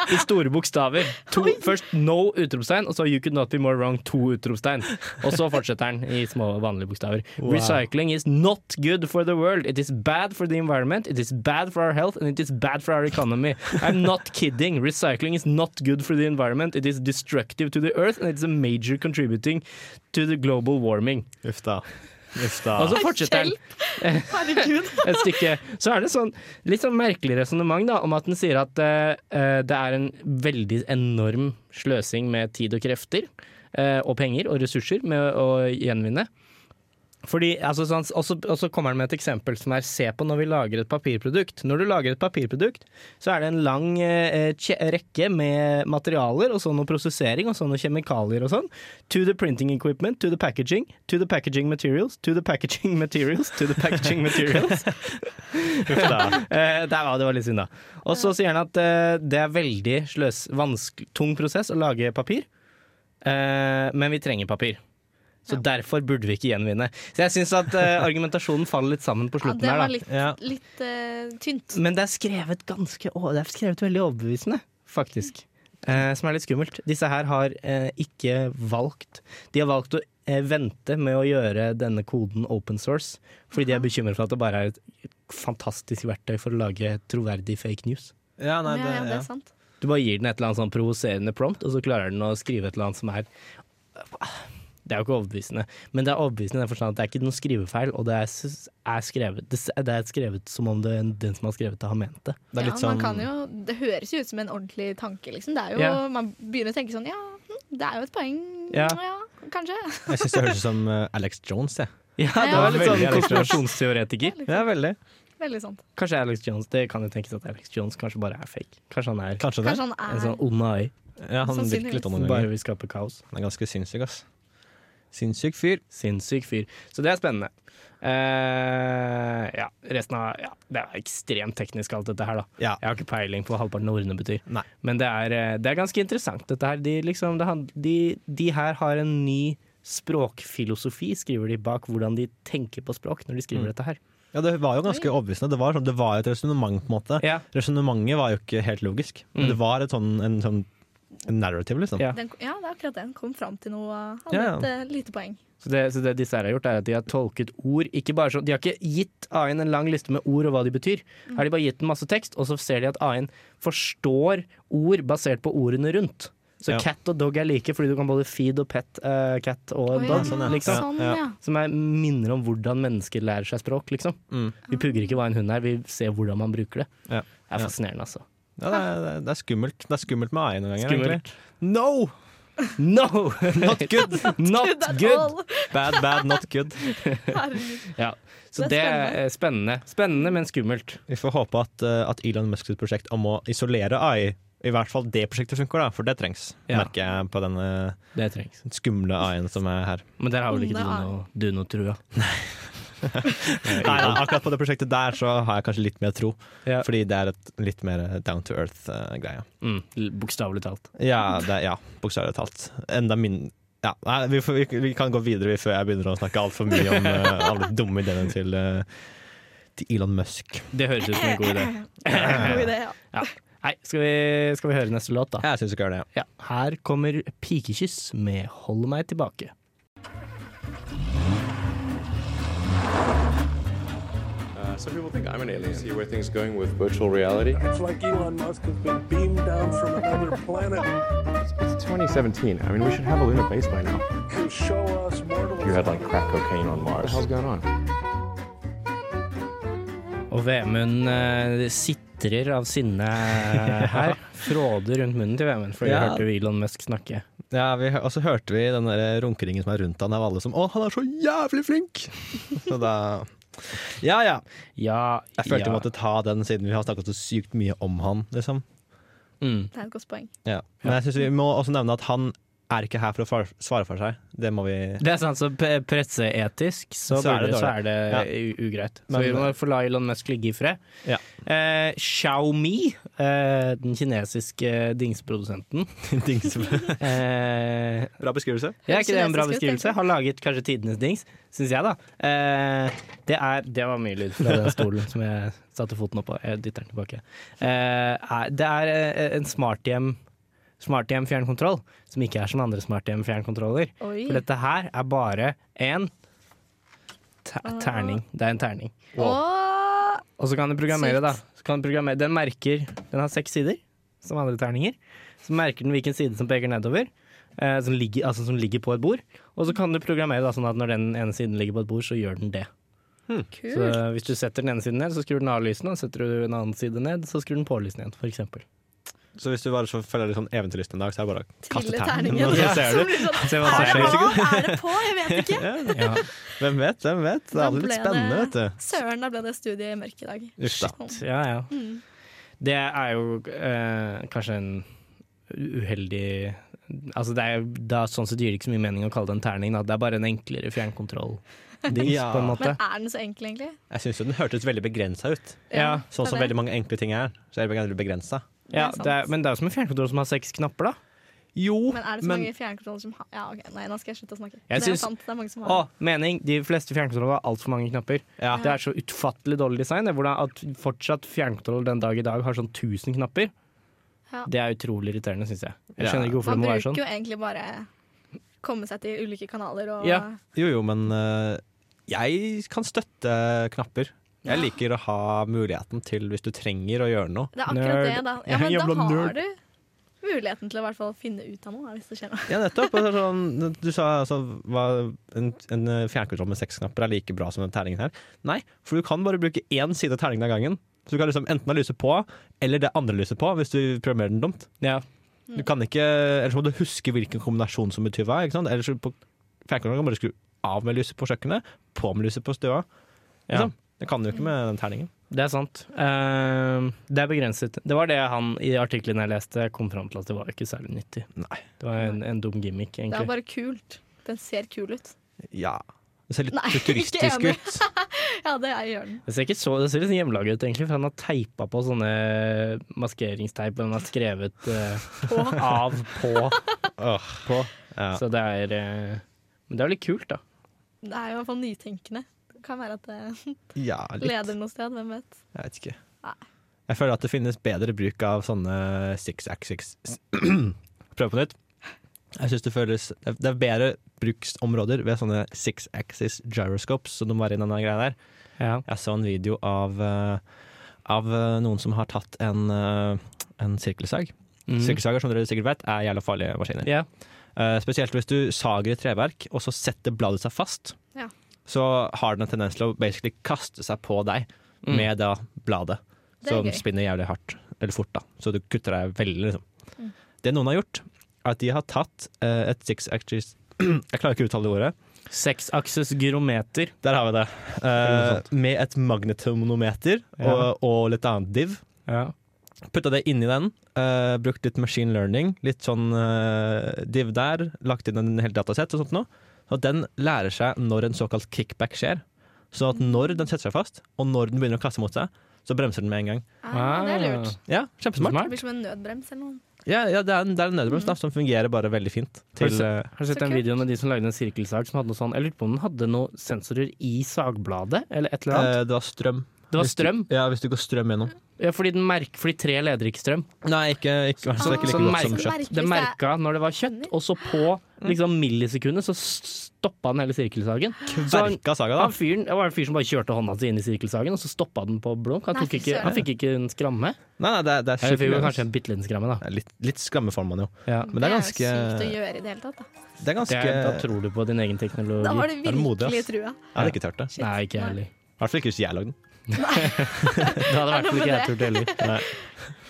Speaker 1: I store bokstaver. To, først 'no' utropstegn, og så 'you could not be more wrong' to utropstegn. Og så fortsetter den i små, vanlige bokstaver.
Speaker 2: Wow.
Speaker 1: 'Recycling is not good for the world. It is bad for the environment, it is bad for our health, and it is bad for our economy. I'm not kidding. Recycling is not good for the environment. It is destructive to the earth, and it's a major contributing to the global warming.
Speaker 2: Uff da. Uff da.
Speaker 1: Og så fortsetter den.
Speaker 3: Herregud.
Speaker 1: et stykke, så er det sånn litt sånn merkelig resonnement om at den sier at eh, eh, det er en veldig enorm sløsing med tid og krefter eh, og penger og ressurser med å gjenvinne. Fordi, altså, sånn, og så- og så kommer han med et eksempel som er se på når vi lager et papirprodukt. Når du lager et papirprodukt, så er det en lang eh, kje- rekke med materialer og sånn og prosessering og sånn og kjemikalier og sånn. To the printing equipment, to the packaging, to the packaging materials, to the packaging materials, to the packaging materials.
Speaker 2: Uff da.
Speaker 1: Eh, der var det var litt synd, da. Og så sier han at eh, det er veldig sløs, vansk, tung prosess å lage papir, eh, men vi trenger papir. Så derfor burde vi ikke gjenvinne. Så jeg syns at eh, argumentasjonen faller litt sammen på
Speaker 3: Ja,
Speaker 1: slutten
Speaker 3: det
Speaker 1: her,
Speaker 3: var
Speaker 1: da.
Speaker 3: litt,
Speaker 2: Ja.
Speaker 3: litt eh, tynt.
Speaker 1: Men det er skrevet ganske å, Det er skrevet veldig overbevisende, faktisk. Eh, som er litt skummelt. Disse her har eh, ikke valgt De har valgt å eh, vente med å gjøre denne koden open source, fordi de er bekymret for at det bare er et fantastisk verktøy for å lage troverdig fake news.
Speaker 2: Ja, nei,
Speaker 3: ja, ja, det
Speaker 2: det,
Speaker 3: er sant.
Speaker 1: Du bare gir den et eller annet sånn provoserende prompt, og så klarer den å skrive et eller annet som er Det er jo ikke overbevisende, men det er overbevisende i den forstand at det er ikke noen skrivefeil, og det er, s- er skrevet det s- det er skrevet som om det, den som har skrevet det, har ment det.
Speaker 2: ja. det er
Speaker 3: ja,
Speaker 2: litt
Speaker 3: man kan
Speaker 2: sånn
Speaker 3: jo, det høres jo ut som en ordentlig tanke, liksom. Det er jo,
Speaker 1: Ja.
Speaker 3: Man begynner å tenke sånn Ja, hm, det er jo et poeng.
Speaker 1: Ja.
Speaker 3: Ja, kanskje.
Speaker 2: Jeg syns det høres ut som eh, Alex Jones, jeg.
Speaker 1: Ja, det
Speaker 3: Ja.
Speaker 1: var litt sånn
Speaker 2: Veldig Alex Jones.
Speaker 1: konspirasjonsteoretiker.
Speaker 2: Ja, veldig.
Speaker 3: sånn. Veldig sant.
Speaker 1: Kanskje Alex Jones Det kan jo tenkes at Alex Jones kanskje bare er fake. Kanskje han er
Speaker 2: Kanskje det.
Speaker 3: Kanskje han
Speaker 1: en
Speaker 3: er
Speaker 1: sånn ond AI
Speaker 2: Ja, han virker
Speaker 3: Sannsynligvis.
Speaker 2: litt sånn
Speaker 1: som
Speaker 2: noen
Speaker 1: bare
Speaker 2: ganger.
Speaker 1: vil skape kaos.
Speaker 2: Han er ganske sinnssyk, ass. Sinnssyk fyr.
Speaker 1: Sinnssyk fyr. Så det er spennende. Eh, ja, resten av ja, Det er ekstremt teknisk, alt dette her, da.
Speaker 2: Ja.
Speaker 1: Jeg har ikke peiling på hva halvparten av ordene betyr.
Speaker 2: Nei.
Speaker 1: Men det er, eh, det er ganske interessant, dette her. De, liksom, det hand- de, de her har en ny språkfilosofi, skriver de, bak hvordan de tenker på språk når de skriver
Speaker 2: Mm.
Speaker 1: dette her.
Speaker 2: Ja, det var jo ganske overbevisende. Det var, sånn, det var jo et resonnement, på en måte.
Speaker 1: Ja.
Speaker 2: Resonnementet var jo ikke helt logisk, men
Speaker 1: Mm.
Speaker 2: det var et sånn, en sånn en narrative, liksom.
Speaker 1: Ja.
Speaker 3: den, Ja, det er akkurat det. Den kom fram til noe. Han
Speaker 2: Ja, ja.
Speaker 3: hadde et eh, lite poeng.
Speaker 1: Så det, så det disse her har gjort, er at de har tolket ord ikke bare sånn, De har ikke gitt AI-en en lang liste med ord og hva de betyr.
Speaker 3: Mm.
Speaker 1: Her har de bare gitt den masse tekst, og så ser de at AI-en forstår ord basert på ordene rundt. Så
Speaker 2: Ja.
Speaker 1: cat og dog er like, fordi du kan både feed og pet eh, cat og
Speaker 3: Å,
Speaker 1: en
Speaker 3: ja.
Speaker 1: dog.
Speaker 2: sånn, ja.
Speaker 1: liksom.
Speaker 3: Sånn,
Speaker 2: Ja.
Speaker 3: ja.
Speaker 1: Som er, minner om hvordan mennesker lærer seg språk, liksom.
Speaker 2: Mm.
Speaker 3: Ah.
Speaker 1: Vi pugger ikke hva en hund er, vi ser hvordan man bruker det.
Speaker 2: Ja.
Speaker 1: Det er
Speaker 2: Ja.
Speaker 1: fascinerende, altså.
Speaker 2: Ja, det, er, det er skummelt. Det er skummelt med AI noen ganger.
Speaker 1: Skummelt.
Speaker 2: egentlig. No!
Speaker 1: No!
Speaker 2: Not good!
Speaker 1: Not
Speaker 3: Good at
Speaker 1: good!
Speaker 3: all.
Speaker 2: Bad, bad, not good.
Speaker 3: Herregud.
Speaker 1: Ja. Så
Speaker 3: Det
Speaker 1: det
Speaker 3: er
Speaker 1: er spennende. Spennende, men skummelt.
Speaker 2: Vi får håpe at, eh, at Elon Musk sitt prosjekt om å isolere AI, i hvert fall det prosjektet funker, da, for det trengs,
Speaker 1: Ja.
Speaker 2: merker jeg på denne
Speaker 1: Det trengs.
Speaker 2: skumle AI-en som er her.
Speaker 1: Men der har vel ikke
Speaker 3: Onde
Speaker 1: du noe, du noe trua?
Speaker 2: Nei, nei, Eh, akkurat på det prosjektet der så har jeg kanskje litt mer tro,
Speaker 1: Ja.
Speaker 2: fordi det er et litt mer down to eh, earth-greie.
Speaker 1: Mm, l- Bokstavelig talt.
Speaker 2: Ja, det, ja bokstavelig talt. Enda min ja, nei, vi, får, vi, vi kan gå videre vi, før jeg begynner å snakke altfor mye om eh, alle de dumme ideene til, eh, til Elon Musk.
Speaker 1: Det høres ut som en god idé.
Speaker 3: God idé, ja.
Speaker 1: Nei, skal vi, skal vi høre neste låt, da?
Speaker 2: Jeg syns vi skal gjøre det.
Speaker 1: Ja. Her kommer 'Pikekyss' med 'Hold meg tilbake'.
Speaker 5: Uh, some people think I'm an alien. See where things going with virtual reality.
Speaker 6: It's like Elon Musk has been beamed down from another planet
Speaker 5: It's, it's 2017. I mean, we should have a lunar base by now.
Speaker 6: to show us mortals.
Speaker 5: You had like crack cocaine on Mars. What the hell's going on?
Speaker 1: Og Vemund eh, sitrer av sinne her. Fråder rundt munnen til Vemund, for vi
Speaker 2: Ja.
Speaker 1: hørte jo Elon Musk snakke.
Speaker 2: Ja, vi, hø- Og så hørte vi den der eh, runkeringen som er rundt han av alle som 'Å, han er så jævlig flink!' Så da Ja ja.
Speaker 1: Ja,
Speaker 2: Jeg følte
Speaker 1: ja.
Speaker 2: vi måtte ta den siden vi har snakket så sykt mye om han, liksom.
Speaker 1: Mm.
Speaker 3: Det er et godt poeng.
Speaker 2: Ja. Men jeg synes vi må også nevne at han er ikke her for å far- svare for seg. Det må vi
Speaker 1: Det er sant, så p- presseetisk så,
Speaker 2: Så er det
Speaker 1: burde- så er
Speaker 2: dårlig.
Speaker 1: det u- ugreit. Så
Speaker 2: Men-
Speaker 1: vi må få la Elon Musk ligge i fred.
Speaker 2: Ja.
Speaker 1: Eh, Xiaomi, eh, den kinesiske eh, dingsprodusenten
Speaker 2: Dings-
Speaker 1: eh,
Speaker 2: Bra beskrivelse.
Speaker 1: Ja, er ikke det en bra
Speaker 3: Kinesisk ut,
Speaker 1: beskrivelse?
Speaker 3: tenker jeg.
Speaker 1: Har laget kanskje tidenes dings, syns jeg, da. Eh, det er Det var mye lyd fra den stolen som jeg satte foten opp på. Jeg dytter den tilbake. Eh, er- det er eh, en smarthjem smarthjem fjernkontroll som ikke er som andre smarthjem fjernkontroller.
Speaker 3: Oi.
Speaker 1: For dette her er bare en te- terning. Det er en terning.
Speaker 3: Åh,
Speaker 1: Og så kan du programmere,
Speaker 3: Sykt.
Speaker 1: da. Så kan du programmere. Den merker Den har seks sider, som andre terninger. Så merker den hvilken side som peker nedover, eh, som, ligger, altså, som ligger på et bord. Og så kan du programmere da, sånn at når den ene siden ligger på et bord, så gjør den det. Så
Speaker 3: kult.
Speaker 1: hvis du setter den ene siden ned, så skrur den av lysene. Og setter du en annen side ned, så skrur den på lysene igjen, for eksempel.
Speaker 2: Så hvis du bare så følger litt sånn eventyrlysten en dag, så er det bare å kaste
Speaker 3: Trille
Speaker 2: terningen,
Speaker 3: terningen.
Speaker 2: og så ser
Speaker 3: Som
Speaker 2: du.
Speaker 3: blir sånn,
Speaker 1: Se hva
Speaker 3: er
Speaker 1: som
Speaker 3: det
Speaker 1: skjer.
Speaker 3: av? Er det på? Jeg vet ikke.
Speaker 2: Ja,
Speaker 1: Ja.
Speaker 2: hvem vet, hvem vet? Det er
Speaker 3: Da
Speaker 2: alltid litt
Speaker 3: ble det-
Speaker 2: spennende, vet du.
Speaker 3: Søren, da ble det studiet i mørke i dag. Sånn.
Speaker 2: Uff da.
Speaker 1: Ja, ja. Det er jo eh, kanskje en uheldig Altså det er, da, sånn sett gir det ikke så mye mening å kalle det en terning. Da. Det er bare en enklere fjernkontroll-dings,
Speaker 2: Ja.
Speaker 1: på en måte.
Speaker 3: Men er den så enkel, egentlig?
Speaker 2: Jeg syns jo den hørtes veldig begrensa ut.
Speaker 1: Ja,
Speaker 2: Sånn som veldig mange enkle ting er. Så er det veldig begrensa.
Speaker 1: ja,
Speaker 3: Det er
Speaker 1: det er, men det er jo som en fjernkontroll som har seks knapper, da.
Speaker 2: Jo,
Speaker 3: Men er det så mange fjernkontroller som har Ja, OK, nei, nå skal jeg slutte å snakke.
Speaker 1: Jeg
Speaker 3: det
Speaker 1: syns-
Speaker 3: er sant, det er mange som har
Speaker 1: Å, mening! De fleste fjernkontroller har altfor mange knapper.
Speaker 2: Ja.
Speaker 1: Det er så utfattelig dårlig design. Det, er hvordan at fortsatt fjernkontroll den dag i dag har sånn 1000 knapper,
Speaker 3: Ja.
Speaker 1: det er utrolig irriterende, syns jeg. Jeg
Speaker 2: Ja.
Speaker 1: skjønner ikke hvorfor
Speaker 3: Man
Speaker 1: det må
Speaker 3: bruker
Speaker 1: være sånn.
Speaker 3: jo egentlig bare komme seg til ulike kanaler og
Speaker 1: Ja.
Speaker 2: Jo, jo, men eh, jeg kan støtte knapper. Jeg liker å ha muligheten til, hvis du trenger å gjøre noe
Speaker 3: Det er akkurat
Speaker 1: Nerd.
Speaker 3: det, da.
Speaker 1: Jeg
Speaker 3: Ja, men
Speaker 1: er
Speaker 3: da
Speaker 1: jævla nerd.
Speaker 3: har du muligheten til å i hvert fall finne ut av noe, da, hvis det skjer noe.
Speaker 2: Ja, nettopp. Og så er det sånn, du sa altså hva, en, en fjernkontroll med seks knapper er like bra som den terningen her. Nei, for du kan bare bruke én side av terningen av gangen. Så du kan liksom enten ha lyset på, eller det andre lyset på, hvis du programmerer den dumt.
Speaker 1: Ja.
Speaker 2: Du kan ikke, Ellers må du huske hvilken kombinasjon som betyr hva. ikke sant? Ellers så på fjernkontrollen kan du bare skru av med lyset på kjøkkenet, på med lyset på stua.
Speaker 1: Ja.
Speaker 2: Liksom. Det kan du jo ikke med den terningen.
Speaker 1: Det er sant. Ehm, det er begrenset. Det var det han i artikkelen jeg leste, kom fram til at det var ikke særlig nyttig.
Speaker 2: Nei.
Speaker 1: Det var en, en dum gimmick,
Speaker 3: Det er
Speaker 1: egentlig.
Speaker 3: bare kult. Den ser kul ut.
Speaker 2: Ja. Det ser litt
Speaker 3: Nei, ikke
Speaker 2: futuristisk
Speaker 3: enig.
Speaker 2: ut.
Speaker 3: Ja, det er- gjør den.
Speaker 1: Det ser, ikke så, det ser litt sånn hjemmelaget ut, egentlig, for han har teipa på sånne maskeringsteip, og han har skrevet eh, av på.
Speaker 2: Åh, på. Ja.
Speaker 1: Så det er eh, Men det er jo litt kult, da.
Speaker 3: Det er jo i hvert fall nytenkende. Det kan være at det
Speaker 2: ja, litt.
Speaker 3: leder noe sted, hvem vet.
Speaker 2: Jeg vet ikke.
Speaker 3: Nei.
Speaker 2: Jeg føler at det finnes bedre bruk av sånne six axis Prøv på nytt. Jeg synes det føles Det er bedre bruksområder ved sånne six axis gyroscopes som de var i denne greia der.
Speaker 1: Ja.
Speaker 2: Jeg så en video av, eh, av eh, noen som har tatt en, eh, en sirkelsag. Sirkelsager, som dere sikkert vet, er jævla farlige maskiner.
Speaker 1: Mm. Ja.
Speaker 2: Eh, spesielt hvis du sager et treverk, og så setter bladet seg fast,
Speaker 3: Ja.
Speaker 2: så har den en tendens til å basically kaste seg på deg
Speaker 1: Mm.
Speaker 2: med da bladet,
Speaker 3: Det er
Speaker 2: som
Speaker 3: gøy.
Speaker 2: spinner jævlig hardt, eller fort, da. Så du kutter deg veldig, liksom.
Speaker 3: Mm.
Speaker 2: Det noen har gjort, er at de har tatt eh, et six axis Jeg klarer ikke å uttale det ordet.
Speaker 1: Seksakses gyrometer.
Speaker 2: Der har vi det. Eh, med et magnetomometer
Speaker 1: Ja.
Speaker 2: og, og litt annet div.
Speaker 1: Ja.
Speaker 2: Putta det inni den, eh, brukt litt machine learning, litt sånn eh, div der, lagt inn en hel datasett og sånt noe. Så at den lærer seg når en såkalt kickback skjer. Så at når den setter seg fast, og når den begynner å kaste mot seg, så bremser den med en gang.
Speaker 3: Ah, det er lurt.
Speaker 2: Ja, kjempesmart.
Speaker 3: Det blir som en nødbrems eller noe.
Speaker 2: Ja, ja, det er en, det er en nødbrems da, som fungerer bare veldig fint. Til,
Speaker 1: Har du
Speaker 2: eh,
Speaker 1: Har du sett
Speaker 3: Så
Speaker 1: den
Speaker 3: kult.
Speaker 1: videoen med de som lagde en sirkelsag som hadde noe sånn Jeg lurer på om den hadde noen sensorer i sagbladet, eller et eller annet.
Speaker 2: eh, det var strøm.
Speaker 1: det var
Speaker 2: Hvis du-
Speaker 1: strøm.
Speaker 2: Ja, hvis du går strøm gjennom.
Speaker 1: Ja, fordi, den merk, fordi tre leder ikke strøm.
Speaker 2: Nei, ikke, ikke, så
Speaker 1: Så
Speaker 2: det er ikke like
Speaker 1: den
Speaker 2: godt som
Speaker 1: merker-
Speaker 2: kjøtt.
Speaker 1: Det merka når det var kjøtt,
Speaker 3: Skjønner.
Speaker 1: og så på liksom, millisekundet så stoppa den hele sirkelsagen. Så han,
Speaker 2: Verka saga, da.
Speaker 1: han fyren, det var en fyr som bare kjørte hånda si inn i sirkelsagen, og så stoppa den på blunk. Han,
Speaker 3: Nei,
Speaker 1: tok
Speaker 3: fy
Speaker 1: ikke,
Speaker 3: søren.
Speaker 1: han fikk ikke en skramme.
Speaker 2: Nei, nei, det er, det
Speaker 1: Eller
Speaker 2: er
Speaker 1: fikk jo
Speaker 2: skikkelig-
Speaker 1: kanskje en bitte liten skramme, da.
Speaker 2: Litt, litt skramme får man jo.
Speaker 1: Ja.
Speaker 2: Men det er
Speaker 3: Det er
Speaker 2: ganske
Speaker 3: jo sykt å gjøre i det hele tatt. Da,
Speaker 2: Det er
Speaker 1: Det
Speaker 2: ganske
Speaker 1: er, da tror du på din egen
Speaker 3: da
Speaker 1: teknologi.
Speaker 3: har du
Speaker 2: er det modig,
Speaker 3: virkelig
Speaker 2: ass.
Speaker 3: trua.
Speaker 2: Jeg hadde ikke tørt det.
Speaker 3: Shit.
Speaker 1: Nei, ikke jeg
Speaker 3: Nei.
Speaker 1: heller.
Speaker 2: I hvert fall ikke hvis jeg lagde den.
Speaker 1: Det hadde i hvert fall
Speaker 3: noe
Speaker 1: ikke jeg
Speaker 3: med
Speaker 1: turt heller.
Speaker 2: Nei.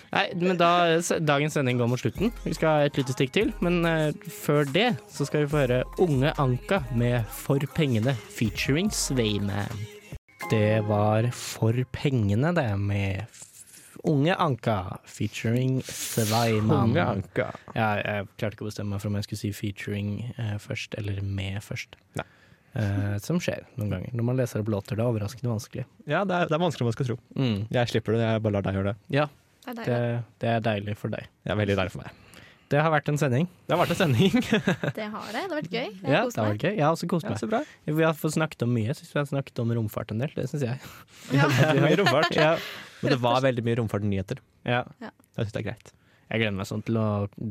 Speaker 1: Nei, men da, s- dagens sending går mot slutten. Vi skal ha et lite stikk til, men eh, før det så skal vi få høre Unge Anka med For pengene featuring Sveiman. Det var For pengene, det, med f- Unge Anka featuring Sveiman. Jeg, jeg klarte ikke å bestemme meg for om jeg skulle si featuring eh, først, eller med først.
Speaker 2: Nei.
Speaker 1: Eh, som skjer noen ganger. Når man leser opp låter, det er overraskende vanskelig.
Speaker 2: Ja, det er, det er vanskeligere enn man skal tro.
Speaker 1: Mm.
Speaker 2: Jeg slipper det, jeg bare lar deg gjøre det.
Speaker 1: Ja,
Speaker 3: Det er
Speaker 1: det,
Speaker 3: deilig.
Speaker 1: det er deilig for deg.
Speaker 2: Det er veldig deilig for meg.
Speaker 1: Det har vært en sending.
Speaker 2: Det har vært en sending.
Speaker 3: Det har det. Det har vært gøy. Jeg
Speaker 1: Ja,
Speaker 3: har
Speaker 1: det
Speaker 3: kost
Speaker 1: var
Speaker 3: meg.
Speaker 1: gøy. Jeg har også kost meg.
Speaker 2: så bra.
Speaker 1: Vi har fått snakket om mye. Jeg synes vi har snakket om romfart en del. Det syns jeg.
Speaker 2: Det er mye romfart. Men det var veldig mye romfartnyheter.
Speaker 1: Ja.
Speaker 2: Jeg syns det er greit.
Speaker 1: Jeg gleder meg sånn til å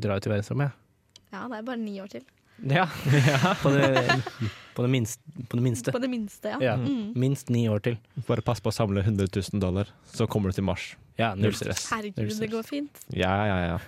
Speaker 1: dra ut i verdensrommet, jeg.
Speaker 3: Ja, det er bare ni år til.
Speaker 1: Ja. På, det, på, det minste, på det minste.
Speaker 3: På det Mm. minste, ja.
Speaker 1: Ja. Minst ni år til.
Speaker 2: Bare pass på å samle 100 000 dollar, så kommer du til Mars.
Speaker 1: Ja, null
Speaker 2: Null
Speaker 1: stress.
Speaker 2: stress.
Speaker 3: Herregud, det går fint.
Speaker 2: Ja, ja, ja.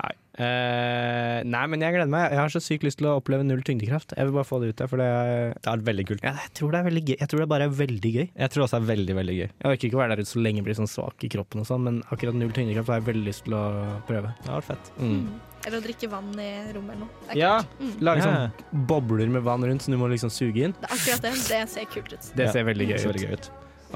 Speaker 1: Nei. Eh, nei, men jeg gleder meg. Jeg har så sykt lyst til å oppleve null tyngdekraft. Jeg vil bare få det ut der, for det er,
Speaker 2: Det er veldig kult.
Speaker 1: ja, jeg tror det er veldig gøy. Jeg tror det bare er veldig gøy.
Speaker 2: Jeg tror også det er veldig, veldig gøy.
Speaker 1: Jeg orker ikke å være der ute så lenge jeg blir sånn svak i kroppen og sånn, men akkurat null tyngdekraft har jeg veldig lyst til å prøve.
Speaker 2: Det hadde vært fett.
Speaker 1: Mm.
Speaker 3: Eller å drikke vann i rommet eller noe. Det er,
Speaker 1: Ja,
Speaker 3: kult. mm.
Speaker 1: lage
Speaker 2: Ja.
Speaker 1: sånn bobler med vann rundt, så du må liksom suge inn.
Speaker 3: det er akkurat det. Det ser kult ut.
Speaker 1: Det
Speaker 2: Ja,
Speaker 1: ser veldig
Speaker 2: Det
Speaker 1: gøy
Speaker 2: ser
Speaker 1: ut.
Speaker 2: veldig gøy ut.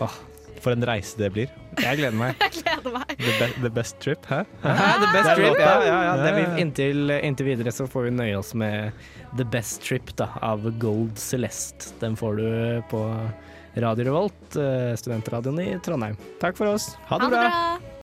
Speaker 2: Åh, for en reise det blir.
Speaker 1: Jeg gleder meg.
Speaker 3: Jeg gleder meg.
Speaker 2: The, be the best trip, hæ?
Speaker 1: Hæ, the best trip, ja. ja, ja. Det
Speaker 2: Ja, ja.
Speaker 1: blir, inntil, inntil videre så får vi nøye oss med The Best Trip da, av Gold Celeste. Den får du på Radio Revolt, eh, studentradioen i Trondheim. Takk for oss.
Speaker 2: Ha
Speaker 3: Ha det bra.